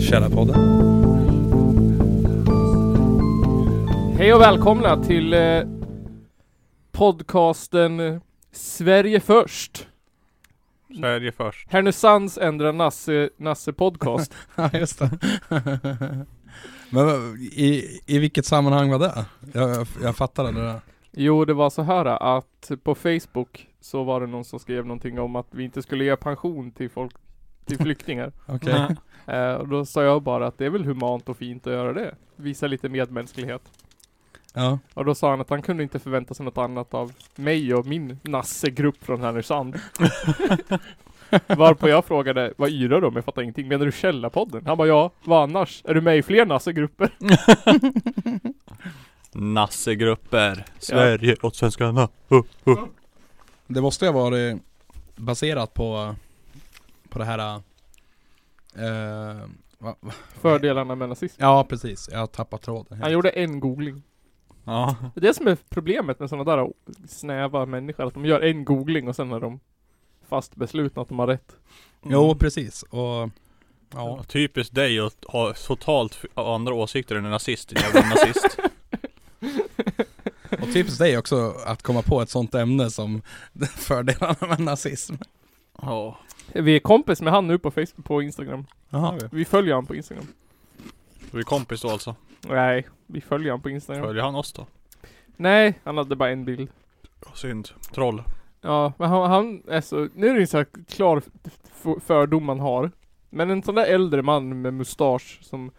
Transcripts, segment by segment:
Källarpodden. Hej och välkomna till eh, podcasten eh, Sverige först. Sverige först. Härnösands ändra Nasse, Nasse podcast. Ja, just det. Men vad- i, i vilket sammanhang var det? Jag, jag, jag fattar det där. jo, det var så här eh, att på Facebook så var det någon som skrev någonting om att vi inte skulle ge pension till folk, till flyktingar. Okej. Ja. Eh, och då sa jag bara att det är väl humant och fint att göra det. Visa lite medmänsklighet. Ja. Och då sa han att han kunde inte förvänta sig något annat av mig och min Nasse-grupp från Härnösand. Varpå jag frågade, vad yrar du om? Jag fattar ingenting. Menar du Källarpodden? Han bara, ja, vad annars? Är du med i fler Nasse-grupper? Nassegrupper. Sverige åt svenskarna. Det måste ju ha varit baserat på, på det här... eh, va, va? Fördelarna med nazism. Ja, precis. Jag har tappat tråden. Han helt. gjorde en googling. Ja. Det är det som är problemet med sådana där snäva människor, att de gör en googling och sen är de fast beslutna att de har rätt. Jo, precis. Och... Ja. Ja, typiskt dig att ha totalt f- andra åsikter än en nazist. en Jävla nazist. Och tips dig också att komma på ett sånt ämne som fördelarna med nazism. Ja. Vi är kompis med han nu på Facebook, på Instagram. Jaha. Vi följer han på Instagram. Du är kompis då alltså? Nej, vi följer han på Instagram. Följer han oss då? Nej, han hade bara en bild. Synd. Troll. Ja, men han, han är så, nu är det ju så här klar f- f- fördom man har. Men en sån där äldre man med mustasch som,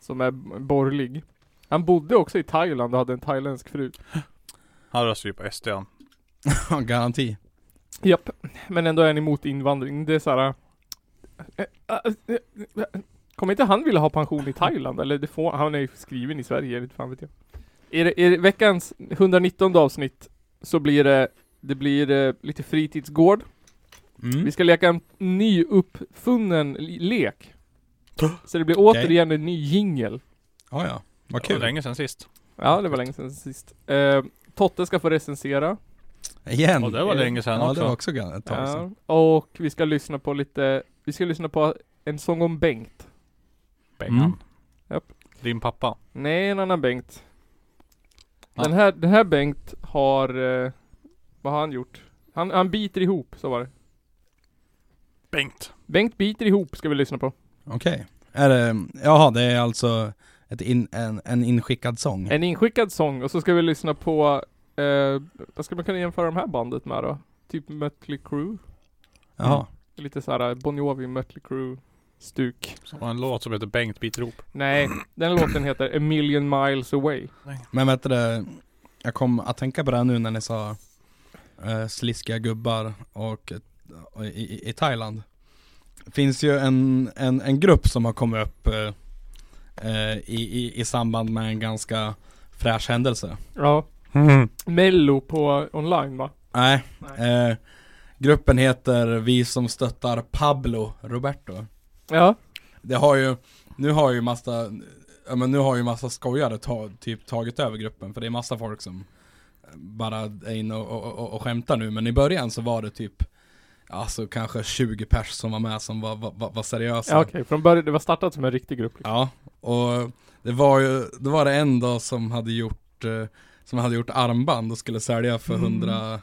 som är b- borgerlig. Han bodde också i Thailand och hade en thailändsk fru. Han röstar ju på SD han. Ja, Garanti. Japp, men ändå är han emot invandring. Det är äh, såhär... äh, Kommer inte han vilja ha pension i Thailand? Eller det får, han är ju skriven i Sverige, inte fan vet jag. I, det- i det- veckans 119 avsnitt så blir det, det blir eh, lite fritidsgård. Mm. Vi ska leka en ny uppfunnen li- lek. Så det blir återigen en ny jingel. Ja, ja. Vad Det var kul. länge sedan sist. Ja, det var länge sedan sist. Eh, Totte ska få recensera. Igen. Ja det var länge sedan ja, också. det var också gan- ett tag sedan. Ja, och vi ska lyssna på lite, vi ska lyssna på en sång om Bengt. Bengan. Mm. Japp. Din pappa. Nej, en annan Bengt. Ja. Den, här, den här Bengt har, eh, vad har han gjort? Han, han biter ihop, så var det. Bengt. Bengt biter ihop ska vi lyssna på. Okej. Är det, jaha, det är alltså ett in, en, en inskickad sång. En inskickad sång och så ska vi lyssna på, eh, vad ska man kunna jämföra de här bandet med då? Typ Mötley Crüe? Jaha. Lite såhär Bon Jovi, Mötley Crüe stuk. Som har en låt som heter Bengt biter ihop. Nej, den låten heter A Million Miles Away. Men vet du det, jag kom att tänka på det här nu när ni sa eh, sliskiga gubbar och, och i, i, i Thailand. Finns ju en, en, en grupp som har kommit upp eh, eh, i, i, i samband med en ganska fräsch händelse. Ja. Mm. Mello på online va? Nej. Nej. Eh, gruppen heter Vi som stöttar Pablo Roberto. Ja. Det har ju, nu har ju massa, ja men nu har ju massa skojare ta, typ tagit över gruppen för det är massa folk som bara är inne och, och, och, och skämtar nu men i början så var det typ Alltså kanske 20 pers som var med som var, var, var, var seriösa ja Okej, från början, det var startat som en riktig grupp. liksom. Ja, och det var ju, det var det en dag som hade gjort eh, Som hade gjort armband och skulle sälja för 100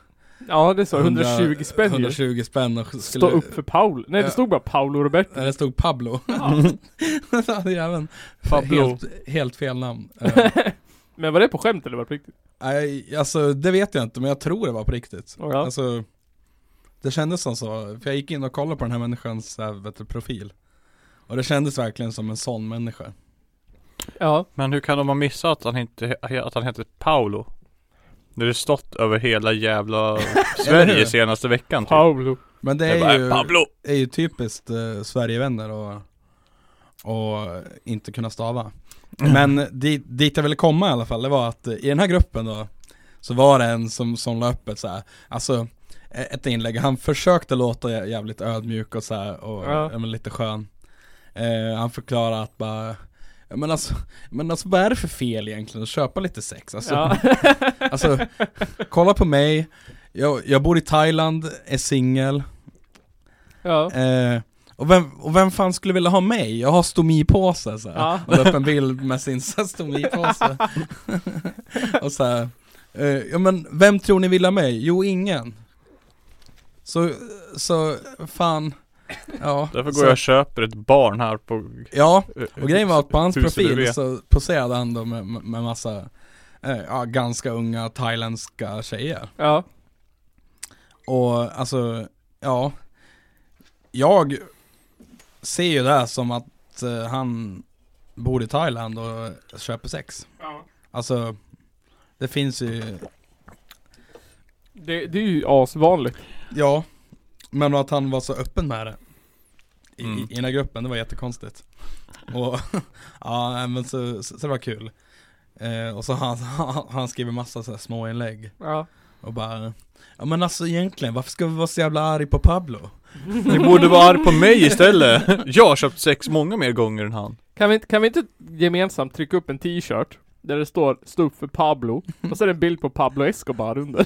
Ja det är Mm. så, 100 120 spänn ju. 120 spänn och skulle, Stå upp för Paul. Nej det Ja. stod bara Paolo Roberto. Nej, det stod Pablo Så hade jag även Pablo. Helt, helt fel namn Eh, Men var det på skämt eller var det på riktigt? Nej, alltså det vet jag inte, men jag tror det var på riktigt. Ja. Alltså, det kändes som så, för jag gick in och kollade på den här människans så här, vet du, profil. Och det kändes verkligen som en sån människa. Ja. Men hur kan de ha missat att han, inte, att han heter Paolo? När det stått över hela jävla hur? Sverige senaste veckan typ. Paolo. Men det Det bara, är ju, Pablo! är ju typiskt eh, Sverigevänner och, och inte kunna stava. Men dit, dit jag ville komma i alla fall, det var att eh, i den här gruppen då, så var det en som, som la upp ett så här, alltså e- ett inlägg, han försökte låta jä- jävligt ödmjuk och så här, och Ja. ja. men, lite skön. Eh, han förklarade att bara, "Ja, men alltså, men alltså vad är det för fel egentligen att köpa lite sex? Alltså, Ja. Alltså, kolla på mig, Jag, jag bor i Thailand, är singel Ja. eh, och, vem, och vem fan skulle vilja ha mig? Jag har stomipåse så här. Ja. Och la upp en bild med sin så här stomipåse Och så här, eh, ja men vem tror ni vill ha mig? Jo ingen Så, så fan Ja, Därför går så, jag och köper ett barn här på... eh, Ja, och grejen var att på hans Huset profil bredvid. så poserade han då med, med massa eh, Ja, ganska unga thailändska tjejer Ja. Och alltså, ja. Jag ser ju det här som att eh, han bor i Thailand och köper sex. ja. Alltså, det finns ju, Det, det är ju asvanligt. ja. Men att han var så öppen med det. I, Mm. i den här gruppen, det var jättekonstigt. Och, ja nej, men så, så, så det var kul. Eh, och så han, han, han skriver massa så här små inlägg Ja. och bara Ja men alltså egentligen, varför ska vi vara så jävla arg på Pablo? Ni borde vara arg på mig istället! Jag har köpt sex många mer gånger än han. Kan vi, inte- kan vi inte gemensamt trycka upp en t-shirt? Där det står 'Stå upp för Pablo' och så är det en bild på Pablo Escobar under.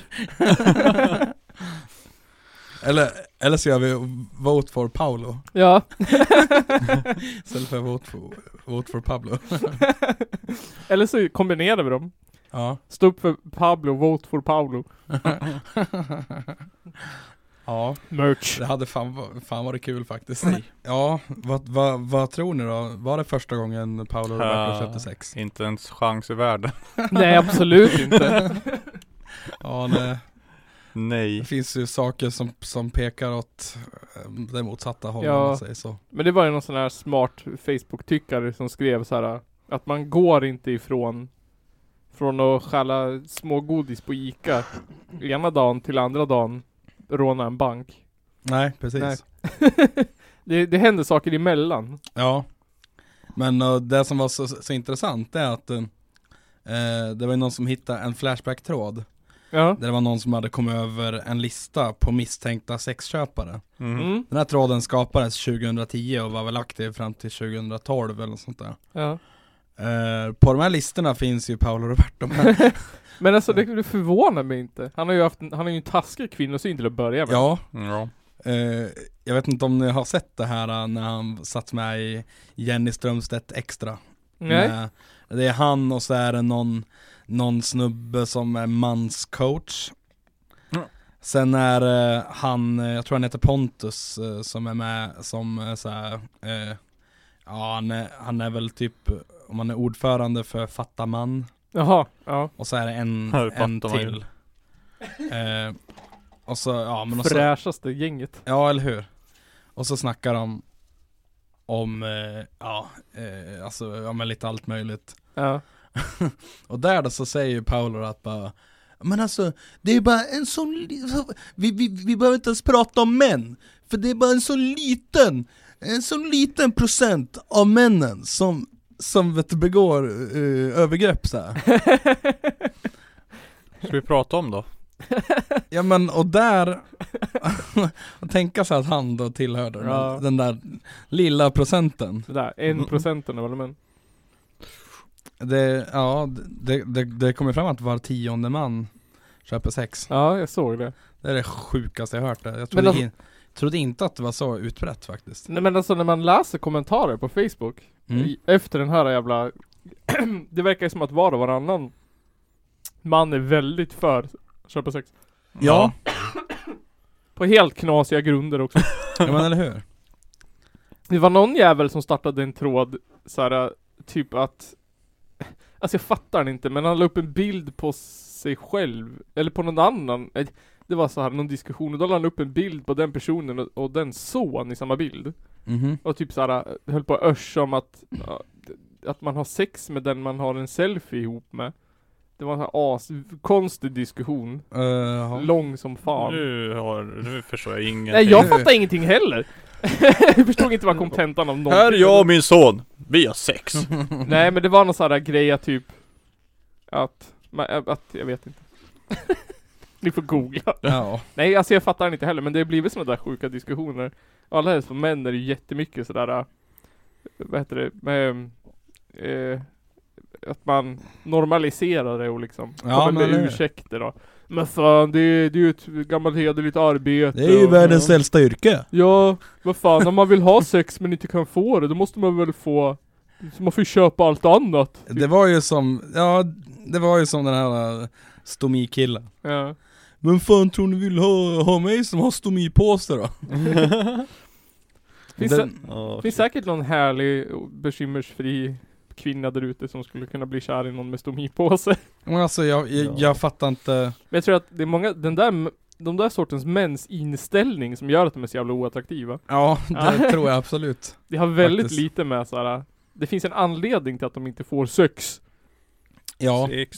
Eller, eller så gör vi Vote for Paolo Ja. istället för Vote for, vote for Pablo. Eller så kombinerar vi dem. Ja. Stå upp för Pablo, vote for Pablo. ja, Merch. det hade fan, va- fan varit kul faktiskt. Nej. Ja, vad, vad, vad tror ni då? Var det första gången Paolo Roberto Ja. köpte sex? Inte ens chans i världen. Nej, absolut inte. Ja, det, det Nej. finns ju saker som, som pekar åt eh, det motsatta hållet Ja. om man säger så. Men det var ju någon sån här smart Facebook-tyckare som skrev så här att man går inte ifrån från att stjäla små godis på Ica ena dagen till andra dagen råna en bank. Nej, precis. Nej. det, det händer saker emellan. Ja. Men eh, det som var så, så intressant är att eh, eh, det var ju någon som hittade en Flashback-tråd Ja. Där det var någon som hade kommit över en lista på misstänkta sexköpare. Mm. Mm. Den här tråden skapades 2010 och var väl aktiv fram till 2012 eller något sånt där. Ja. Eh, på de här listorna finns ju Paolo Roberto med. Men alltså det, det förvånar mig inte. Han har ju haft, en- han har ju en taskig kvinnosyn till att börja med. ja, Ja. eh, jag vet inte om ni har sett det här eh, när han satt med i Jenny Strömstedt Extra. Nej. Med, Eh, det är han och så är det någon, någon snubbe som är manscoach. Mm. Sen är det han, eh, jag tror han heter Pontus, eh, som är med som eh, så här, eh, ja han är, han är väl typ, eh, om han är ordförande för Fatta man Jaha. Ja. och så är det en, Ja, en det fattar man ju. till. Eh, och så, ja men alltså- och så, Fräschaste gänget. Ja, eller hur? Och så snackar de om, eh, ja, eh, alltså, ja men lite allt möjligt. Ja. Och där då så säger ju Paolo att bara men alltså, det är bara en sån li- vi, vi, vi behöver inte ens prata om män För det är bara en sån liten En sån liten procent av männen som, som vet, du, begår eh, övergrepp så här. Ska vi prata om då? Ja men och där, och tänka sig att han då tillhörde den- Ja. den där lilla procenten Det där, Mm. en procenten av alla män. Det, ja, det, det, det kommer fram att var tionde man köper sex. Ja, jag såg det. Det är det sjukaste jag hört. Det. Jag Men trodde, de- in, trodde inte att det var så utbrett faktiskt. Nej men alltså när man läser kommentarer på Facebook Mm. i, Efter den här jävla Det verkar ju som att var och varannan Man är väldigt för köpa sex Ja. På helt knasiga grunder också ja, men eller hur? Det var någon jävel som startade en tråd såhär typ att Alltså jag fattar den inte men han la upp en bild på sig själv Eller på någon annan Eh, Det var så här någon diskussion och då la han upp en bild på den personen och, och den son i samma bild Mhm. Och typ såhär, höll på att örsa om att, ja, d- att man har sex med den man har en selfie ihop med. Det var en sån här askonstig diskussion. Eh, ja. Lång som fan. Nu, har, nu förstår jag ingenting. Nej jag Nu- fattar ingenting heller! jag förstod inte vad kontentan av någonting. Här är jag och min son. Vi har sex. Mm. Nej men det var någon sån här grej att typ att, ma- äh, att, jag vet inte. Ni får googla. ja. Nej alltså jag fattar den inte heller men det har blivit såna där sjuka diskussioner. Allra helst för män är det ju jättemycket sådär, äh, vad heter det, med, eh, att man normaliserar det och liksom Ja, kommer men med eller hur? ursäkter och Men fan, det är, det är ju ett gammalt hederligt arbete. Det är ju och- världens ja. äldsta yrke. ja, vad fan, om man vill ha sex men inte kan få det, då måste man väl få... Så man får ju köpa allt annat. Det var ju som, ja, det var ju som den här eh, stomikillen. Ja. Vem fan tror ni vill ha, ha mig som har stomipåse då? Finns Den, Ja, Det finns säkert någon härlig och bekymmersfri kvinna där ute som skulle kunna bli kär i någon med stomipåse. men alltså jag, jag, Ja. jag fattar inte. Men jag tror att det är många, den där, de där sortens mäns inställning som gör att de är så jävla oattraktiva. Ja, det Ja. tror jag absolut. Det har väldigt Faktiskt. lite med såhär, det finns en anledning till att de inte får sex. Ja, Sex.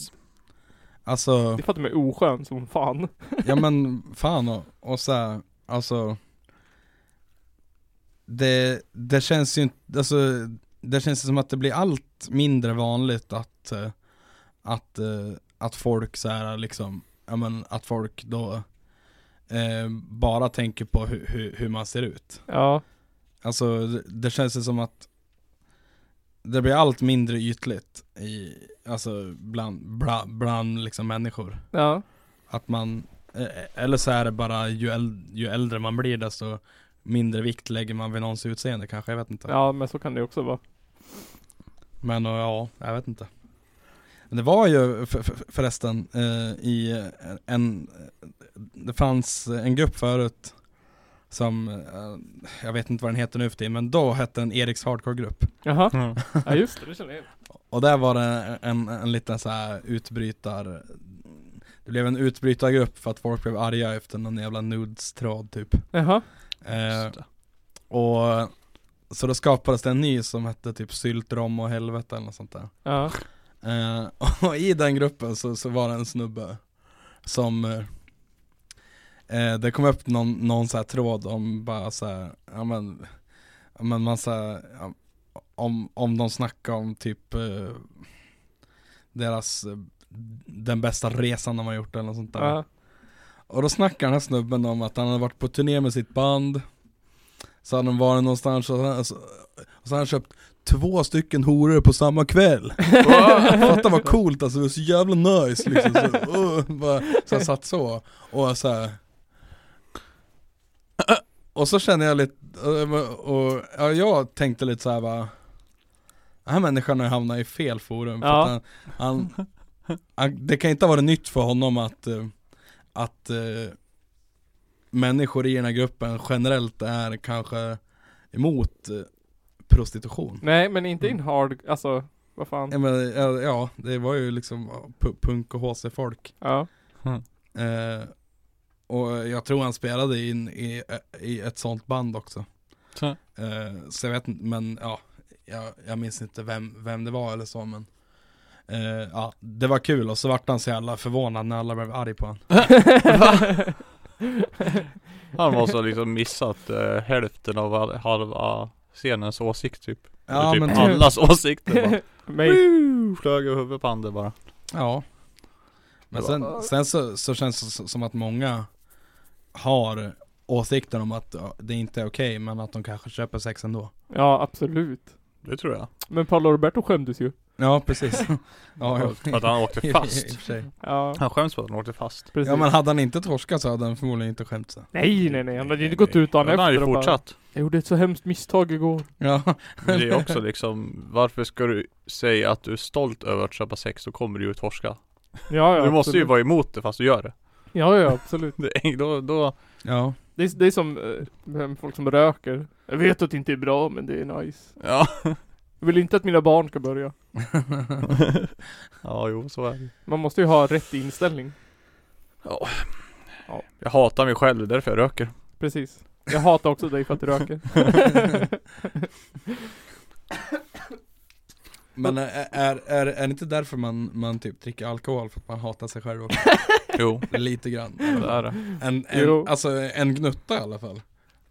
alltså, Det är för att de är oskön som fan. ja men fan och, och så här, alltså. Det, det känns ju inte, alltså, det känns som att det blir allt mindre vanligt att, eh, att, eh, att folk så här liksom, ja men att folk då eh, bara tänker på hu, hu, hur man ser ut. Ja. Alltså det, det känns ju som att det blir allt mindre ytligt i, alltså bland, bland, bland liksom människor. Ja. Att man, eh, eller så är det bara ju, äl- ju äldre man blir desto mindre vikt lägger man vid någons utseende kanske, jag vet inte. Ja men så kan det också vara. Men och, ja, jag vet inte. Men det var ju för, för, förresten eh, i eh, en, det fanns en grupp förut som, eh, jag vet inte vad den heter nu för tiden, men då hette den Eriks Hardcore-grupp. Jaha. Mm. Ja just det, det känner jag igen. Och där var det en, en liten så här utbrytar Det blev en utbrytargrupp för att folk blev arga efter någon jävla nudes-tråd typ Jaha. Mm. eh, Och så då skapades det en ny som hette typ sylt, rom och helvete eller något sånt där Ja. eh, Och i den gruppen så, så var det en snubbe Som eh, eh, Det kom upp någon, någon så här tråd om bara så här, ja men ja, men man så här, ja, om, om de snackar om typ eh, deras, eh, den bästa resan de har gjort eller något sånt där. Ja. Och då snackar den här snubben om att han hade varit på turné med sitt band Så hade de varit någonstans och, han, så, och så hade han köpt två stycken horor på samma kväll Fatta vad coolt alltså, det var så jävla nice liksom Så, uh, bara, så han satt så, och så här. Och så känner jag lite, och, och ja, jag tänkte lite så här bara Den här människan har ju hamnat i fel forum för Ja. att han, han, han, Det kan inte ha varit nytt för honom att, eh, att eh, människor i den här gruppen generellt är kanske emot eh, prostitution Nej men inte Mm. in hard, alltså vad fan. Ja, men, ja, ja, det var ju liksom pu- punk och HC-folk. Ja. Eh, och jag tror han spelade in i, eh, i ett sånt band också. Så. Eh, så jag vet inte, men ja, jag, jag minns inte vem, vem det var eller så men eh, ja, det var kul och så vart han så jävla förvånad när alla blev arg på honom. Han måste ha liksom missat eh, hälften av all, halva scenens åsikt typ. Ja, Eller typ men typ. allas åsikter bara. Mig. Woo! Flög över huvudet på andra bara. Ja. Men Det sen, sen så, så känns det s- som att många har åsikten om att ja, det inte är okej men att de kanske köper sex ändå. Ja absolut. Det tror jag. Men Paolo Roberto skämdes ju. Ja precis. ja, ja. För att han I, åkte i, i och fast. för sig. Ja. Han skäms för att han åkte fast. Precis. Ja men hade han inte torskat så hade han förmodligen inte skämt sig. Nej nej nej, han hade ju inte gått ut dagen Men efter Han har ju och bara, fortsatt. Jag gjorde ett så hemskt misstag igår. Ja, Men Det är också liksom, varför ska du säga att du är stolt över att köpa sex, då kommer du ju torska. Ja ja. Du måste ju absolut. vara emot det fast du gör det. Ja ja absolut. det är, då, då, ja. Det är, det är som eh, eh, folk som röker. Jag vet att det inte är bra men det är nice. ja. Jag vill inte att mina barn ska börja. ja, jo så är det. Man måste ju ha rätt inställning. Jag hatar mig själv, det är därför jag röker. Precis. Jag hatar också dig för att du röker. Men är, är, är, är det inte därför man, man typ dricker alkohol? För att man hatar sig själv också? Jo, Lite grann. det är det. En, en, Jo. alltså en gnutta i alla fall. Typ.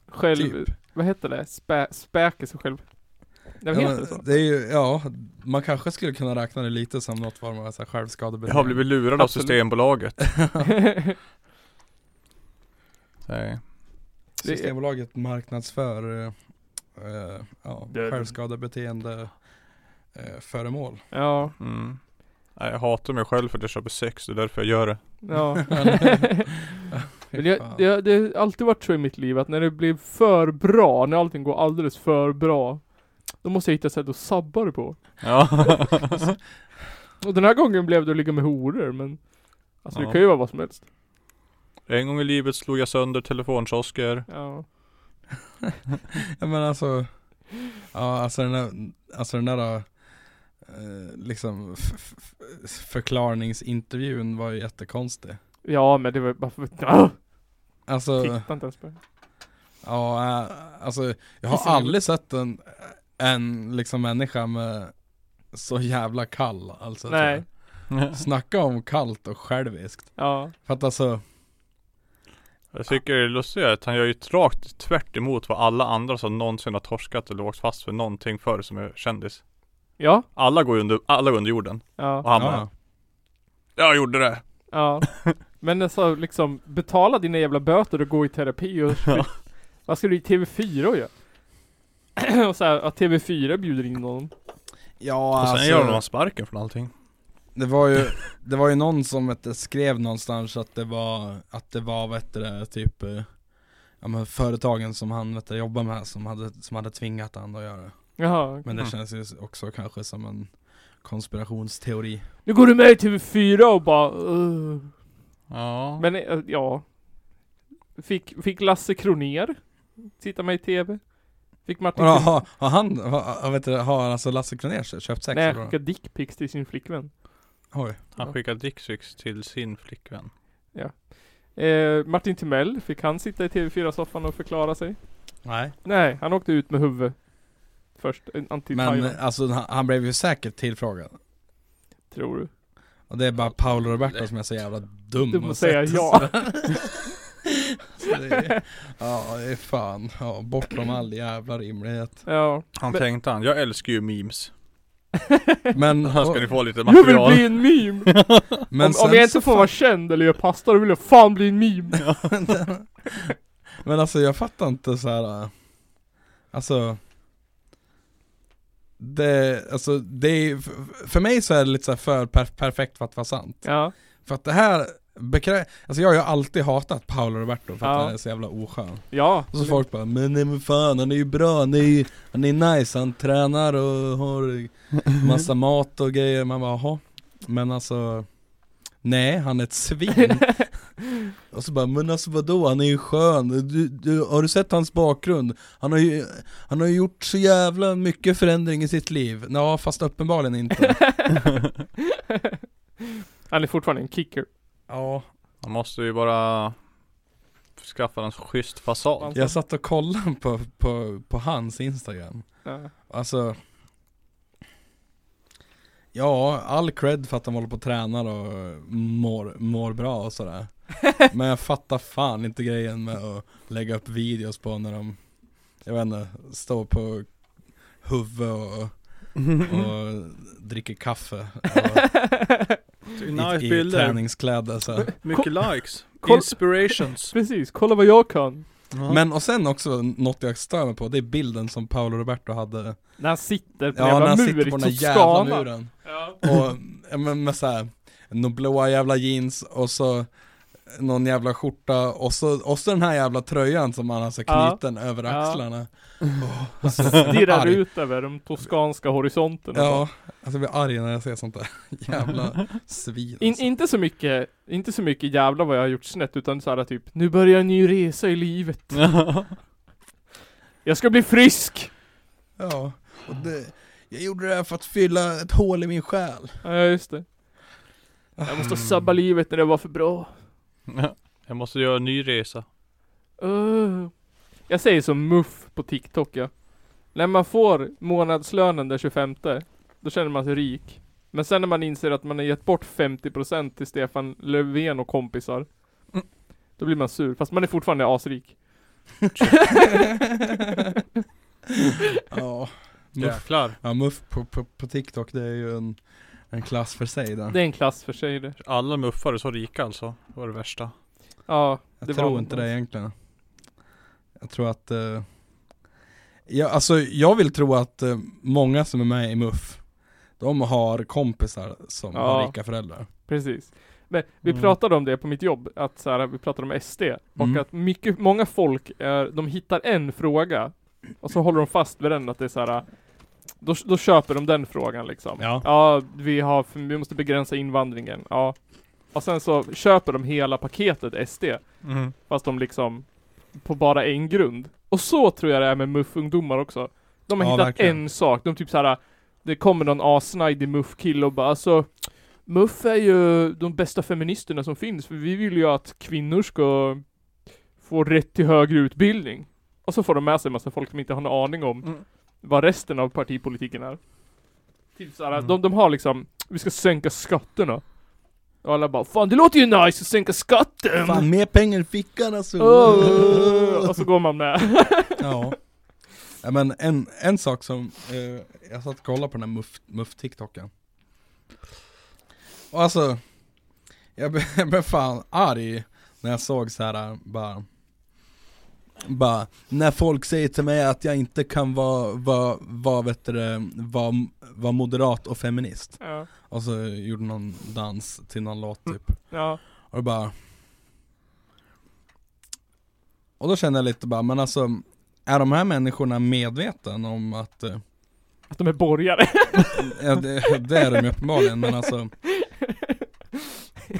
Själv, vad heter det? Spä, späker sig själv. Jag Ja, heter men det så. det är ju, ja, man kanske skulle kunna räkna det lite som något form av så här Jag självskadebeteende. har blivit lurad av Absolut. Systembolaget. Nej. Systembolaget marknadsför eh, eh, ja, Döden. självskadebeteende eh, föremål. ja. Mm. Nej, Jag hatar mig själv för att jag köper sex, det är därför jag gör det. Ja. Fy Men jag, fan. jag, det har alltid varit så i mitt liv att när det blir för bra, när allting går alldeles för bra, då måste jag hitta sätt att sabba det på. Ja. Och den här gången blev det att ligga med horor, men Alltså det Ja. kan ju vara vad som helst. en gång i livet slog jag sönder telefonkiosker. Ja. Ja men alltså Ja alltså den där, alltså den där eh, liksom f- f- f- förklaringsintervjun var ju jättekonstig Ja men det var ju bara för... Ah! Alltså, Titta inte ens på det. ja eh, alltså jag Alltså, har det- aldrig sett en, en liksom människa med så jävla kall alltså tror Nej. jag. Snacka om kallt och själviskt Ja. För att alltså, Jag tycker det lustiga är att han gör ju ett rakt tvärt emot vad alla andra som någonsin har torskat eller åkt fast för någonting förr som är kändis. Ja. Alla går ju under, alla går under jorden. Och Ja. han ja, bara, jag gjorde det. Ja. Men alltså liksom, betala dina jävla böter och gå i terapi och... Vad ska du i TV4 och göra? och så här, att TV4 bjuder in någon. ja Och sen alltså, gör de sparken från allting. Det var ju, det var ju någon som vet, du, skrev någonstans att det var, att det var vet du, det, typ eh, Ja men företagen som han vet du, jobbar med som hade, som hade tvingat han att göra det Jaha. Men det Mm. känns ju också kanske som en konspirationsteori Nu går du med i TV4 och bara... "Ugh." Ja. Men eh, ja. Fick, fick Lasse Kroner sitta med i TV? Fick Martin... Vadå, har, har han, har, vet du, har alltså Lasse Kronér köpt sex Nej, eller han vadå? skickade dickpics till sin flickvän. Oj, han skickar dickpics till sin flickvän. Eh, Martin Timell, fick han sitta i TV4-soffan och förklara sig? nej Nej, han åkte ut med huvudet. Först, eh, anti Men Taiwan, eh, alltså han, han blev ju säkert tillfrågad tror du. Och det är bara Paolo Roberto som är så jävla dum Du måste och säga sätter ja. Så det är, ja det är fan, ja, bortom all jävla rimlighet. Ja. Han Men- tänkte han, jag älskar ju memes. Men, Här ska ni få lite Jag vill material. bli en meme! men om, sen om jag inte så får fan- vara känd eller göra pasta, då vill jag fan bli en meme! Men alltså jag fattar inte så här. äh, alltså det, alltså det är, för- för mig så är det lite så här för per, perfekt för att vara sant. Ja, För att det här bekrä... Alltså jag har ju alltid hatat Paolo Roberto för att Ja. han är så jävla oskön. ja. Och så folk bara 'Men nej men fan han är ju bra, han är ju, han är nice, han tränar och har massa mat och grejer' Man bara 'Jaha' Men alltså Nej, han är ett svin. och så bara, men alltså vadå, han är ju skön. Du, du, har du sett hans bakgrund? Han har, ju, han har ju gjort så jävla mycket förändring i sitt liv. Ja, fast uppenbarligen inte. Han är fortfarande en kicker. ja, Han måste ju bara skaffa en schysst fasad. jag satt och kollade på, på, på hans instagram. Ja. Alltså Ja, all cred för att de håller på och tränar och mår, mår bra och sådär Men jag fattar fan inte grejen med att lägga upp videos på när de Jag vet inte, står på huvudet och, Mm. och dricker kaffe och i, i träningskläder så. här. mycket likes, Kolla- inspirations. Precis, kolla vad jag kan. Men och sen också något jag stör mig på, det är bilden som Paolo Roberto hade När han sitter på Ja, en när jävla han mur sitter i på den där jävla Toscana. muren Ja. Och ja, men med såhär, några blåa jävla jeans och så någon jävla skjorta och så, och så den här jävla tröjan som man har så Ja. knuten över Ja. axlarna. Stirrar Arg. ut över de toskanska horisonterna. Ja, alltså jag blir arg när jag ser sånt där jävla svin. In, alltså. inte så mycket, inte så mycket jävla vad jag har gjort snett utan så här typ Nu börjar en ny resa i livet Jag ska bli frisk! Ja, och det, jag gjorde det här för att fylla ett hål i min själ. Ja just det Jag måste Mm. sabba livet när det var för bra jag måste göra en ny resa. Öh. Jag säger som Muff på TikTok ja När man får månadslönen den 25 Då känner man sig rik Men sen när man inser att man har gett bort 50% till Stefan Löfven och kompisar Mm. Då blir man sur, fast man är fortfarande asrik ja, muff, Jäklar. ja, muff på, på, på TikTok det är ju en, en klass för sig där. Det är en klass för sig det Alla muffar är så rika alltså. Det var det värsta. Ja, Jag det var tror någon- inte det egentligen. Jag tror att... eh, ja, alltså jag vill tro att eh, många som är med i MUF, De har kompisar som Ja. har rika föräldrar. Precis. Men vi Mm. pratade om det på mitt jobb, att så här, vi pratade om SD, och Mm. att mycket, många folk, är, de hittar en fråga, och så håller de fast vid den, att det är så här. Då, då köper de den frågan liksom. Ja. vi, har, för- vi måste begränsa invandringen, ja. Och sen så köper de hela paketet SD, Mm. fast de liksom, på bara en grund. Och så tror jag det är med MUF-ungdomar också. De har Ja, hittat verkligen. en sak, de typ så här. det kommer någon asnajdig MUF-kille och bara alltså MUF är ju de bästa feministerna som finns, för vi vill ju att kvinnor ska få rätt till högre utbildning. Och så får de med sig en massa folk som inte har en aning om Mm. vad resten av partipolitiken är. Typ såhär, Mm. de, de har liksom, vi ska sänka skatterna. Och alla bara, fan det låter ju nice att sänka skatten! Fan, mer pengar i fickan alltså! Åh, Oh, och så går man med. Ja. ja men en, en sak som, eh, jag satt och kollade på den här muff- muff-tiktoken. och alltså, jag blev, jag blev fan arg när jag såg så här eh, bara bara, när folk säger till mig att jag inte kan vara, vara, vara, vet du, det, vara, vara moderat och feminist Ja, Och så gjorde någon dans till någon låt typ ja, och bara Och då kände jag lite bara, men alltså Är de här människorna medvetna om att eh, att de är borgare. ja, det, det är de ju uppenbarligen men alltså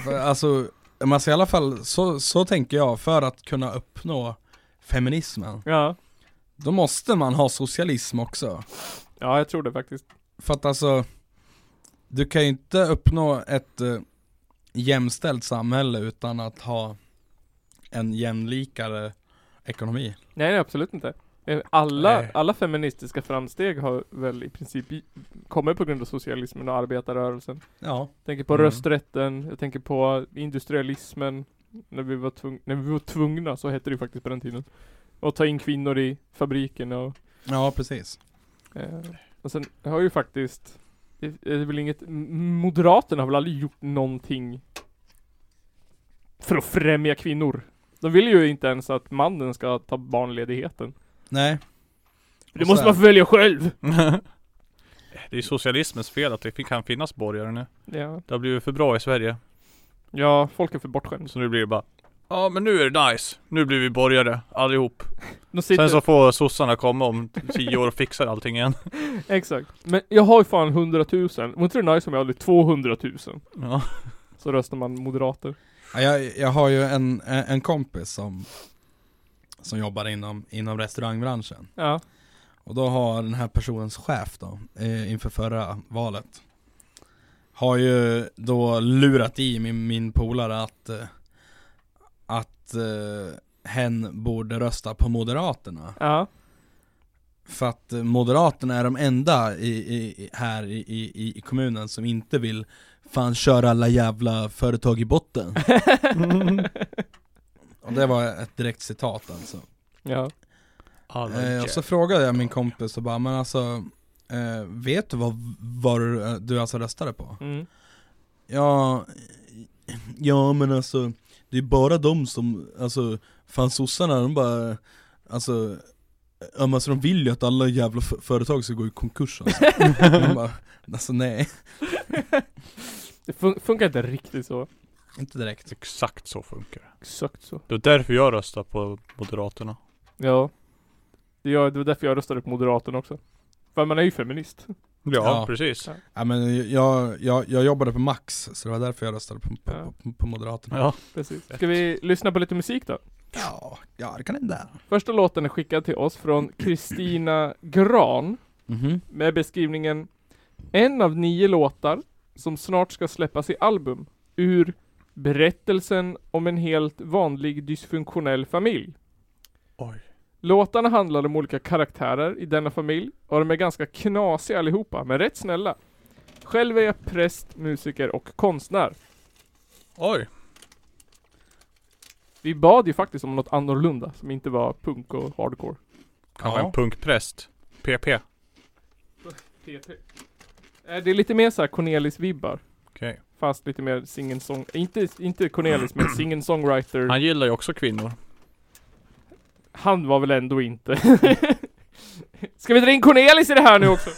för, Alltså, men alltså i alla fall så, så tänker jag, för att kunna uppnå feminismen Ja, Då måste man ha socialism också ja jag tror det faktiskt. För att alltså Du kan ju inte uppnå ett eh, jämställt samhälle utan att ha en jämlikare ekonomi Nej, nej absolut inte. Eh, Alla, Nej. alla feministiska framsteg har väl i princip i- kommit på grund av socialismen och arbetarrörelsen. Ja, Jag tänker på Mm. rösträtten, jag tänker på industrialismen. När vi, var tvung- när vi var tvungna, så hette det ju faktiskt på den tiden. Att ta in kvinnor i fabriken och ja precis Eh, och sen har ju faktiskt det det är väl inget, M- Moderaterna har väl aldrig gjort någonting för att främja kvinnor. De vill ju inte ens att mannen ska ta barnledigheten. Nej Det Och måste så här- man få välja själv! Det är socialismens fel att det fin- kan finnas borgare nu. Ja, Det har blivit för bra i Sverige. ja folk är för bortskämda. Så nu blir det bara Ja men nu är det nice. Nu blir vi borgare allihop. De sitter, Sen så får sossarna komma om tio år och fixar allting igen. Exakt. Men jag har ju fan 100 000. Vore inte det nice om jag hade 200 000? Ja. Så röstar man moderater. Ja, jag, jag har ju en, en kompis som Som jobbar inom, inom restaurangbranschen Ja. Och då har den här personens chef då, eh, inför förra valet Har ju då lurat i min, min polare att eh, Att eh, hen borde rösta på Moderaterna Ja. För att eh, Moderaterna är de enda i, i, i- här i, i, i kommunen som inte vill Fan köra alla jävla företag i botten Och det var ett direkt citat alltså ja. Eh, Alla och så frågade jag min kompis och bara, men alltså eh, Vet du vad, vad du, eh, du alltså röstade på? Mm. Ja, ja men alltså Det är bara de som, alltså Fan sossarna de bara Alltså Ja men alltså de vill ju att alla jävla f- företag ska gå i konkurs alltså. Man bara, alltså nej, Det fun- funkar inte riktigt så. inte direkt Exakt så funkar det. Exakt så. Det är därför jag röstar på Moderaterna. Ja. Det, jag, det var därför jag röstade på Moderaterna också. För man är ju feminist. Ja, Ja. precis. ja, men jag, jag, jag jobbade på Max, så det var därför jag röstade på, på, på, på Moderaterna Ja. Precis. Ska vi lyssna på lite musik då? Ja, ja det kan hända Första låten är skickad till oss från Kristina Gran Mhm, med beskrivningen En av nio låtar som snart ska släppas i album ur Berättelsen om en helt vanlig dysfunktionell familj. Oj. Låtarna handlar om olika karaktärer i denna familj och de är ganska knasiga allihopa, men rätt snälla. Själv är jag präst, musiker och konstnär. Oj. Vi bad ju faktiskt om något annorlunda som inte var punk och hardcore. Kan vara en punkpräst. PP. Okej. PP. Eh, Det är lite mer så här Cornelis-vibbar. Fast lite mer sing-and-song... Inte, inte Cornelis, men sing-and-songwriter. Han gillar ju också kvinnor. Han var väl ändå inte... Ska vi dra in Cornelis i det här nu också?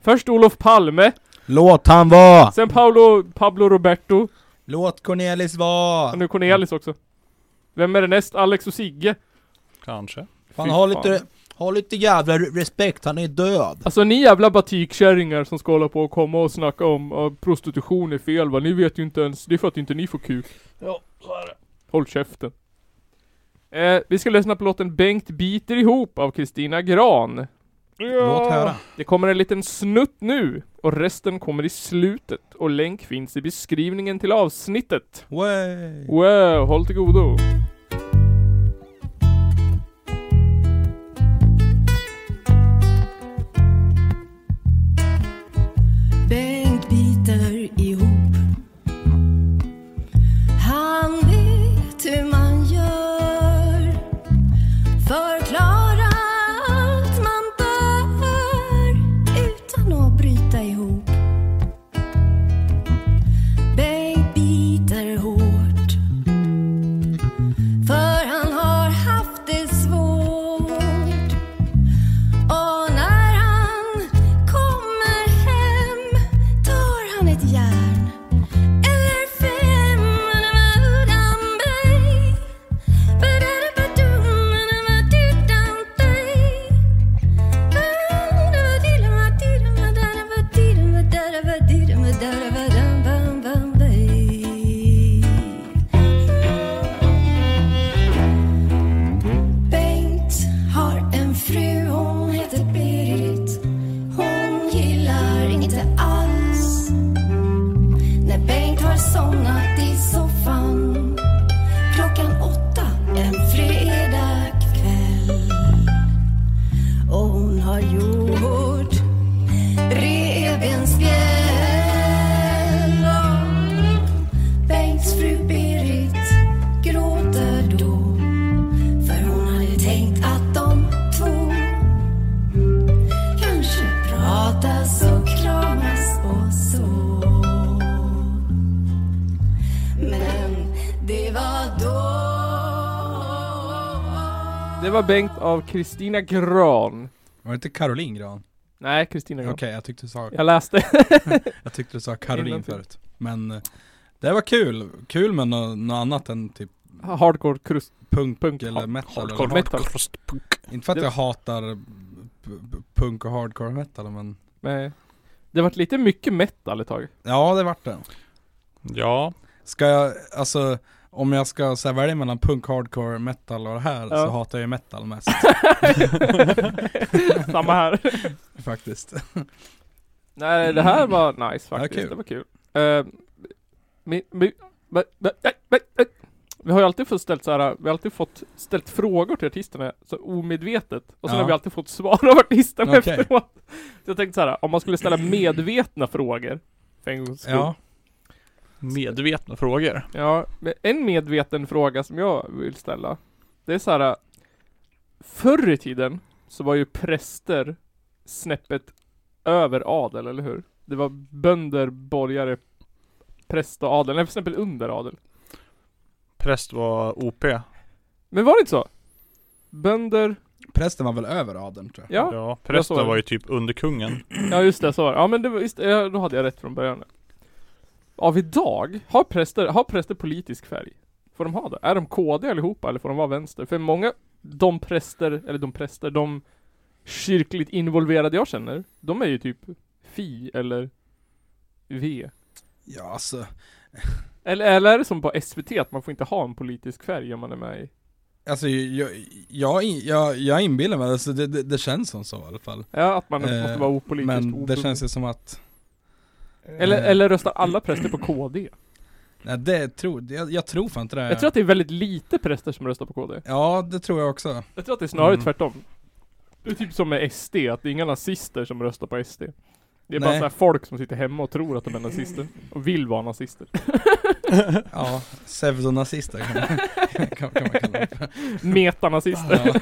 Först Olof Palme, Låt han vara! sen Paolo, Pablo Roberto, Låt Cornelis och vara! nu Cornelis också. Vem är det näst? Alex och Sigge? Kanske. Fan, Fy ha fan. lite, ha lite jävla respekt, han är död. Alltså ni jävla batikkärringar som ska hålla på och komma och snacka om att prostitution är fel va, ni vet ju inte ens, det är för att inte ni får kuk. Ja, Håll käften. Eh, vi ska lyssna på låten Bengt biter ihop av Kristina Gran. Låt höra. Det kommer en liten snutt nu och resten kommer i slutet och länk finns i beskrivningen till avsnittet. Way. Mm. Wow, håll till godo. Bengt biter ihop Han vet hur man gör Förklara allt man bör utan att bryta ihop Bengt biter hårt För han har haft det svårt och när han kommer hem tar han ett järn eller fem utan mig. Bengt har en fru, hon heter Berit. Hon gillar inte alls när Bengt har somnat i soffan klockan åtta en fredagkväll. Och hon har gjort revbensspjäll. Och Bengts fru Berit gråter då för hon hade tänkt att de två kanske pratas och kramas och så. Men det var då. Det var Bengt av Kristina Gran. Var det inte Caroline Gran? Nej, Kristina Okej, Gran. jag tyckte du sa, Jag läste. jag tyckte du sa Caroline Innantill. förut. Men eh, det var kul. Kul med nå- något annat än typ Hardcore krust. punk, Punk, eller ha- metal. eller Hardcore något. metal. Inte för att Det- jag hatar p- p- punk och hardcore metal men Nej. Det vart lite mycket metal ett tag. Ja, det vart det. Ja, Ska jag, alltså om jag ska så här, välja mellan punk, hardcore, metal och det här Ja. så hatar jag ju metal mest Samma här. faktiskt. Nej, det här var nice Mm. Ja, faktiskt. kul. Det var kul. Eh, mi, mi, va- va- nej, nej, nej. vi har ju alltid fått ställt så här, vi har alltid fått ställt frågor till artisterna så omedvetet. Och sen Ja. har vi alltid fått svar av artisterna Okej. efteråt. Så jag tänkte så här, om man skulle ställa medvetna frågor. För en gångs skull. Ja, medvetna frågor. Ja, men en medveten fråga som jag vill ställa. Det är så här. äh, Förr i tiden så var ju präster snäppet över adel, eller hur? Det var bönder, borgare, präst och adel. Nej, för snäppet under adel. Präst var OP. Men var det inte så? Bönder, prästen var väl över adeln tror jag. ja. ja jag såg prästen var det. ju typ underkungen. Ja just det, så var det. Ja men det var, just, ja, då hade jag rätt från början. Av idag, har präster, har präster politisk färg? Får de ha det? Är de KD allihopa eller får de vara vänster? För många, de präster, eller de präster, de kyrkligt involverade jag känner, de är ju typ Fi eller V. Ja, alltså, Eller, eller är det som på SVT att man får inte ha en politisk färg om man är med i? alltså jag, jag, jag, jag inbillar mig, alltså, det, det, det känns som så i alla fall. Ja, att man Eh, måste vara opolitisk. Men det oberoende. känns ju som att eller, eh, eller röstar alla präster på KD? Nej det tror, jag, jag tror fan inte det. Jag tror att det är väldigt lite präster som röstar på KD. Ja, det tror jag också. Jag tror att det är snarare Mm. tvärtom. Det är typ som med SD, att det är inga nazister som röstar på SD. Det är bara Nej. så här folk som sitter hemma och tror att de är nazister. Och vill vara nazister. Ja, pseudonazister kan man, kan, kan man kalla det. Metanazister. Ja.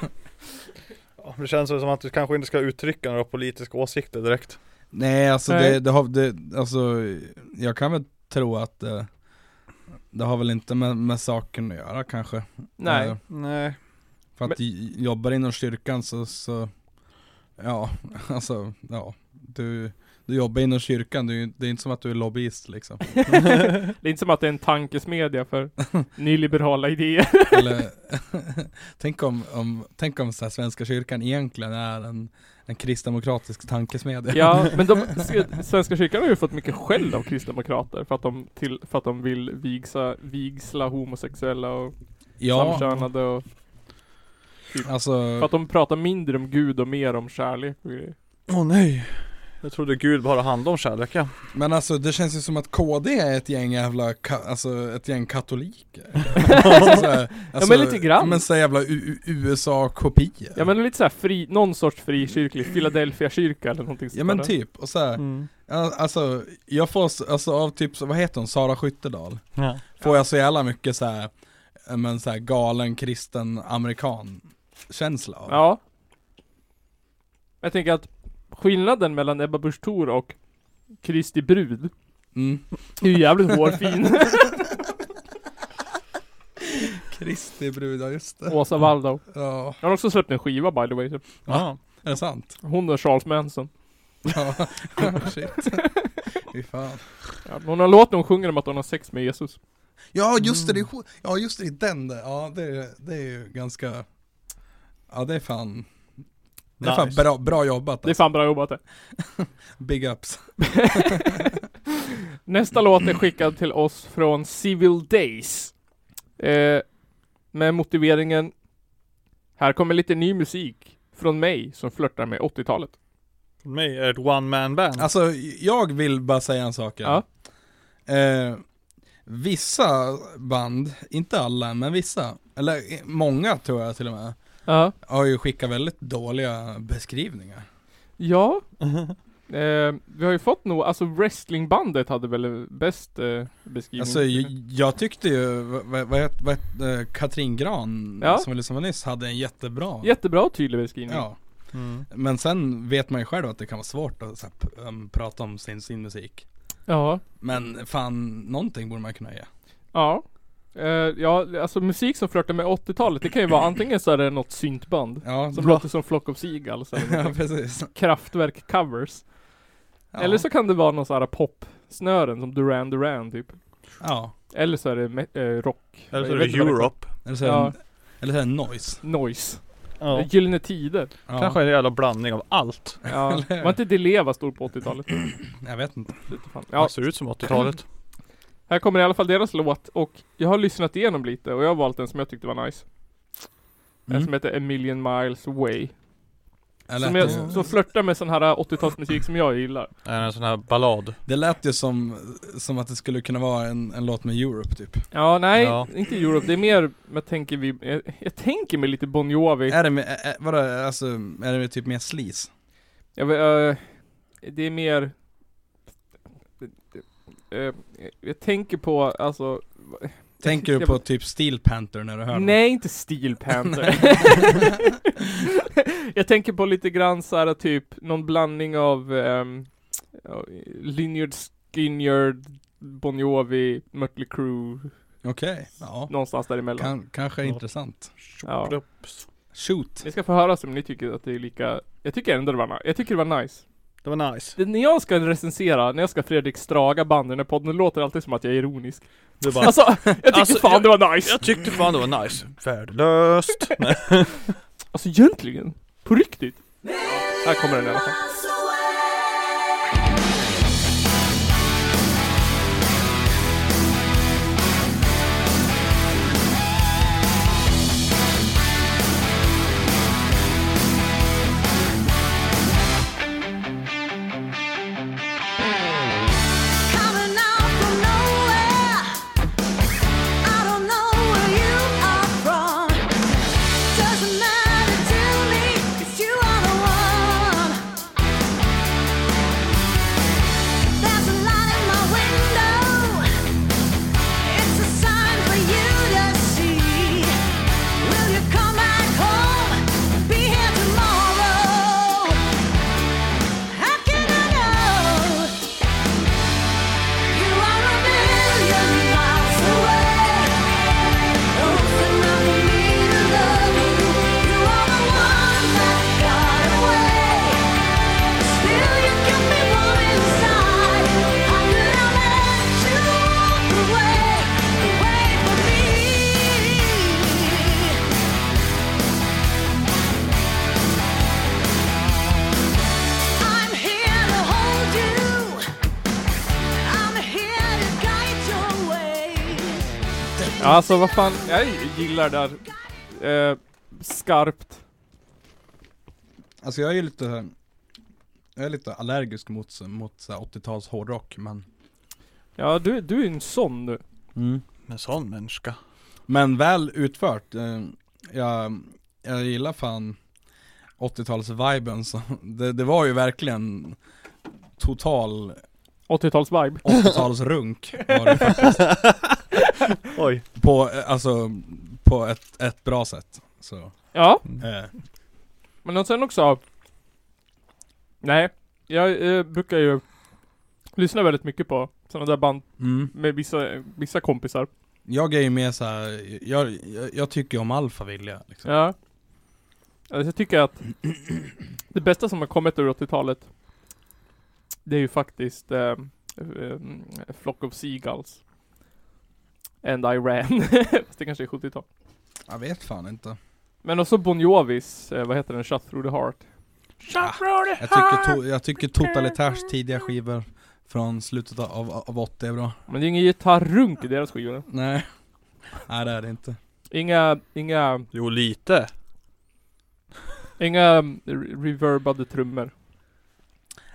Det känns som att du kanske inte ska uttrycka några politiska åsikter direkt. Nej alltså Nej. Det, det har, det, alltså jag kan väl tro att det, det har väl inte med, med saken att göra kanske Nej. Eh, Nej. För att j- jobbar inom kyrkan så, så ja alltså ja du, Du jobbar inom kyrkan, du, det är inte som att du är lobbyist liksom Det är inte som att det är en tankesmedja för nyliberala idéer. Eller, tänk om, om, tänk om så här, Svenska kyrkan egentligen är en, en kristdemokratisk tankesmedja Ja, men de, Svenska kyrkan har ju fått mycket skäll av kristdemokrater för att de, till, för att de vill vigsa, vigsla homosexuella och ja samkönade och för alltså, att de pratar mindre om Gud och mer om kärlek och grejer. Åh nej. Jag trodde Gud bara handlade om kärlek ja. men alltså det känns ju som att KD är ett gäng jävla, ka- alltså ett gäng katoliker alltså, så här, alltså, men lite grann. Men så här jävla U- U- USA-kopior Ja men lite såhär fri, någon sorts frikyrklig, Philadelphia-kyrka eller någonting sånt Ja men där. typ, och så här, Mm. Ja, Alltså, jag får, s- alltså av typ, så- vad heter hon, Sara Skyttedal? ja. Får jag så jävla mycket så här, eh, men så här galen kristen amerikan känsla av. Ja. Jag tänker att skillnaden mellan Ebba Busch Thor och Kristi brud Mm. är ju jävligt hårfin. Kristi brud, ja just det. Åsa Waldau. Ja, Hon har också släppt en skiva by the way. typ. Ja. är det sant? Hon och Charles Manson. Ja, Oh, shit. Fy fan. Ja, hon har en låt där hon sjunger om att hon har sex med Jesus. Ja just det, Mm. det är, sj- ja just det, det är den där. Ja det är, det är ju ganska, ja det är fan, det är fan Nice. bra, bra jobbat Det är alltså. fan bra jobbat det. Big ups. Nästa låt är skickad till oss från Civil Days. Eh, med motiveringen Här kommer lite ny musik från mig som flörtar med 80-talet. För mig är det ett one man band. Alltså, jag vill bara säga en sak. Ja. Eh, vissa band, inte alla, men vissa, eller eh, många tror jag till och med, Ja. har ju skickat väldigt dåliga beskrivningar. Ja. Eh, vi har ju fått nog, alltså wrestlingbandet hade väl bäst eh, beskrivning. Alltså, jag, jag tyckte ju, vad, vad, het- vad, het- eh, Katrin Gran, Ja. som vi lyssnade på nyss, hade en jättebra. Jättebra och tydlig beskrivning. Ja. Mm. Men sen vet man ju själv att det kan vara svårt att så här, p- um, prata om sin, sin musik. Ja. Men fan, någonting borde man kunna ge. Ja. Eh, ja, alltså musik som flörtar med 80-talet, det kan ju vara antingen så är det något syntband. Ja, Som bra. låter som Flock of Seagulls eller ja någonting. precis. Kraftwerk covers. Ja. Eller så kan det vara någon sån här popsnören som Duran Duran typ. Ja. Eller så är det me- eh, rock. Eller så Jag är vet inte det vad Europe. Eller så är Ja. det, eller så är det noise. Noise. Ja. Gyllene Tider. Ja. Kanske en jävla blandning av allt. Ja. Eller hur? Var inte Di Leva stor på 80-talet? Jag vet inte. Lite fan. Ja. Ja, Det ser ut som 80-talet. Här kommer i alla fall deras låt och jag har lyssnat igenom lite och jag har valt en som jag tyckte var nice. Mm. En som heter A Million Miles Away. Eller, Mm. Som, jag, som flörtar med sån här 80-talsmusik som jag gillar. Är det Mm. En sån här ballad. Det lät ju som, som att det skulle kunna vara en, en låt med Europe typ. Ja, nej, Ja. inte Europe. Det är mer, jag tänker vi, jag, jag tänker mig lite Bon Jovi. Är det med, ä, ä, vadå, alltså, är det typ mer sleaze? Jag, vet, eh, det är mer... eh, jag tänker på, alltså... Tänker du jag- på typ Steel Panther när du hör Nej, inte Steel Panther. jag tänker på lite grann så här typ någon blandning av um, Lynyrd Skynyrd, Bon Jovi, Mötley Crüe, den? Okej, ja. någonstans däremellan. Kan, kanske Ja. intressant. Ja. Shoot! Ni ska få höra om ni tycker att det är lika, jag tycker ändå det var nice. Jag tycker det var nice. Det var nice. Det, när jag ska recensera, när jag ska Fredrik Straga band i den här podden, det låter alltid som att jag är ironisk. Det var Alltså, jag tycker Alltså, fan jag- det var nice! Jag tyckte fan det var nice. Värdelöst. Nej. Alltså egentligen, på riktigt. Här kommer den i alla fall. Coming out from nowhere. I don't know where you are from. Doesn't matter to me, 'cause you are the one. Alltså vad fan, jag gillar det här eh, skarpt. Alltså jag är ju lite Jag är lite allergisk mot, mot så här 80-tals hårdrock men Ja du, du är ju en sån nu. En sån människa. Men väl utfört Eh, Jag, jag gillar fan 80-tals-viben så det, det var ju verkligen Total 80-tals-vibe. 80-talsrunk var det faktiskt Oj. På, eh, alltså, på ett, ett bra sätt så, Ja, eh, men och sen också. Nej, jag eh, brukar ju lyssna väldigt mycket på sådana där band mm. med vissa, vissa kompisar. Jag är ju mer såhär, jag, jag, jag tycker ju om Alfa Vilja liksom. Ja. Alltså, jag tycker att det bästa som har kommit ur 80-talet Det är ju faktiskt eh, eh, Flock of Seagulls And I ran. Fast det kanske är 70-tal. Jag vet fan inte Men också Bon Jovis, eh, vad heter den? Shut through the heart. Jag tycker, to, jag tycker Totalitärs tidiga skivor från slutet av, av 80 är bra Men det är ingen gitarrunk i deras skivor. Nej Nej det är det inte Inga, inga, Jo lite. inga mm, re- reverbade trummor.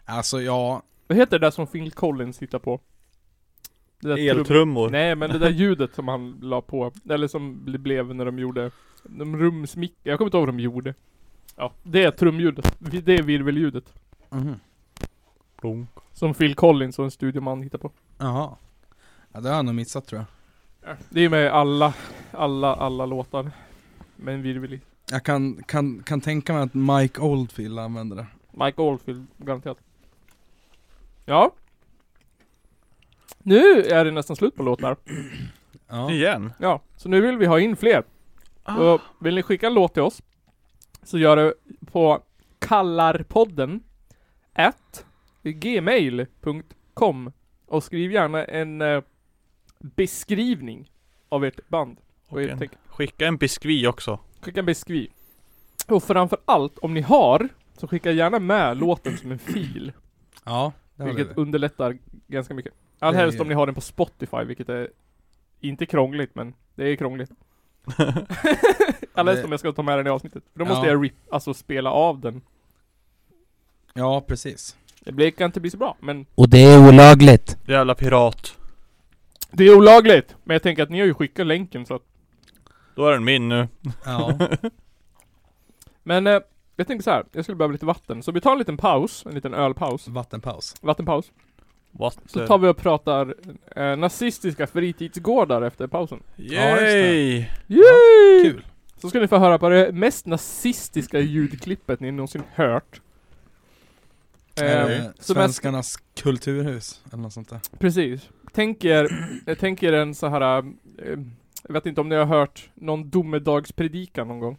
Alltså ja, Vad heter det där som Phil Collins hittar på? Det där trum- Eltrummor. Nej men det där ljudet som han la på, eller som bli- blev när de gjorde De rumsmick, jag kommer inte ihåg vad de gjorde Ja, det är trumljudet, Vi- det är virveljudet Blom. Som Phil Collins och en studioman hittar på jaha ja, Det har jag nog missat tror jag Det är med i alla, alla, alla låtar Med en virvel i. Jag kan, kan, kan tänka mig att Mike Oldfield använder det Mike Oldfield, garanterat Ja Nu är det nästan slut på låtar Ja, Igen. Ja, så nu vill vi ha in fler. Ah. Ah. Och vill ni skicka en låt till oss så gör det på kallarpodden at gmail.com och skriv gärna en eh, beskrivning av ert band. Och Och jag en, tänker, skicka en biskvi också. skicka en beskriv. Och framför allt, om ni har, så skicka gärna med låten som en fil. ja det har Vilket du. underlättar ganska mycket. Allhelst Det- om ni har den på Spotify, vilket är inte krångligt, men det är krångligt. Allhelst Det- om jag ska ta med den i avsnittet. För då måste Ja. jag rip, alltså spela av den. Ja precis Det blir, kan inte bli så bra, men Och det är olagligt. Jävla pirat. det är olagligt. Men jag tänker att ni har ju skickat länken så att... Då är den min nu. Ja, Men eh, jag tänker så här. jag skulle behöva lite vatten. Så vi tar en liten paus, en liten ölpaus. Eh, vattenpaus Vattenpaus. What Så the- tar vi och pratar eh, nazistiska fritidsgårdar efter pausen. Ja, just det. Yay! Yay! Kul Så ska ni få höra på det mest nazistiska ljudklippet ni någonsin hört. eh, Eh, som är, Svenskarnas kulturhus eller något sånt där precis. Tänk er, eh, tänk er en så här. Eh, jag vet inte om ni har hört någon domedagspredikan någon gång?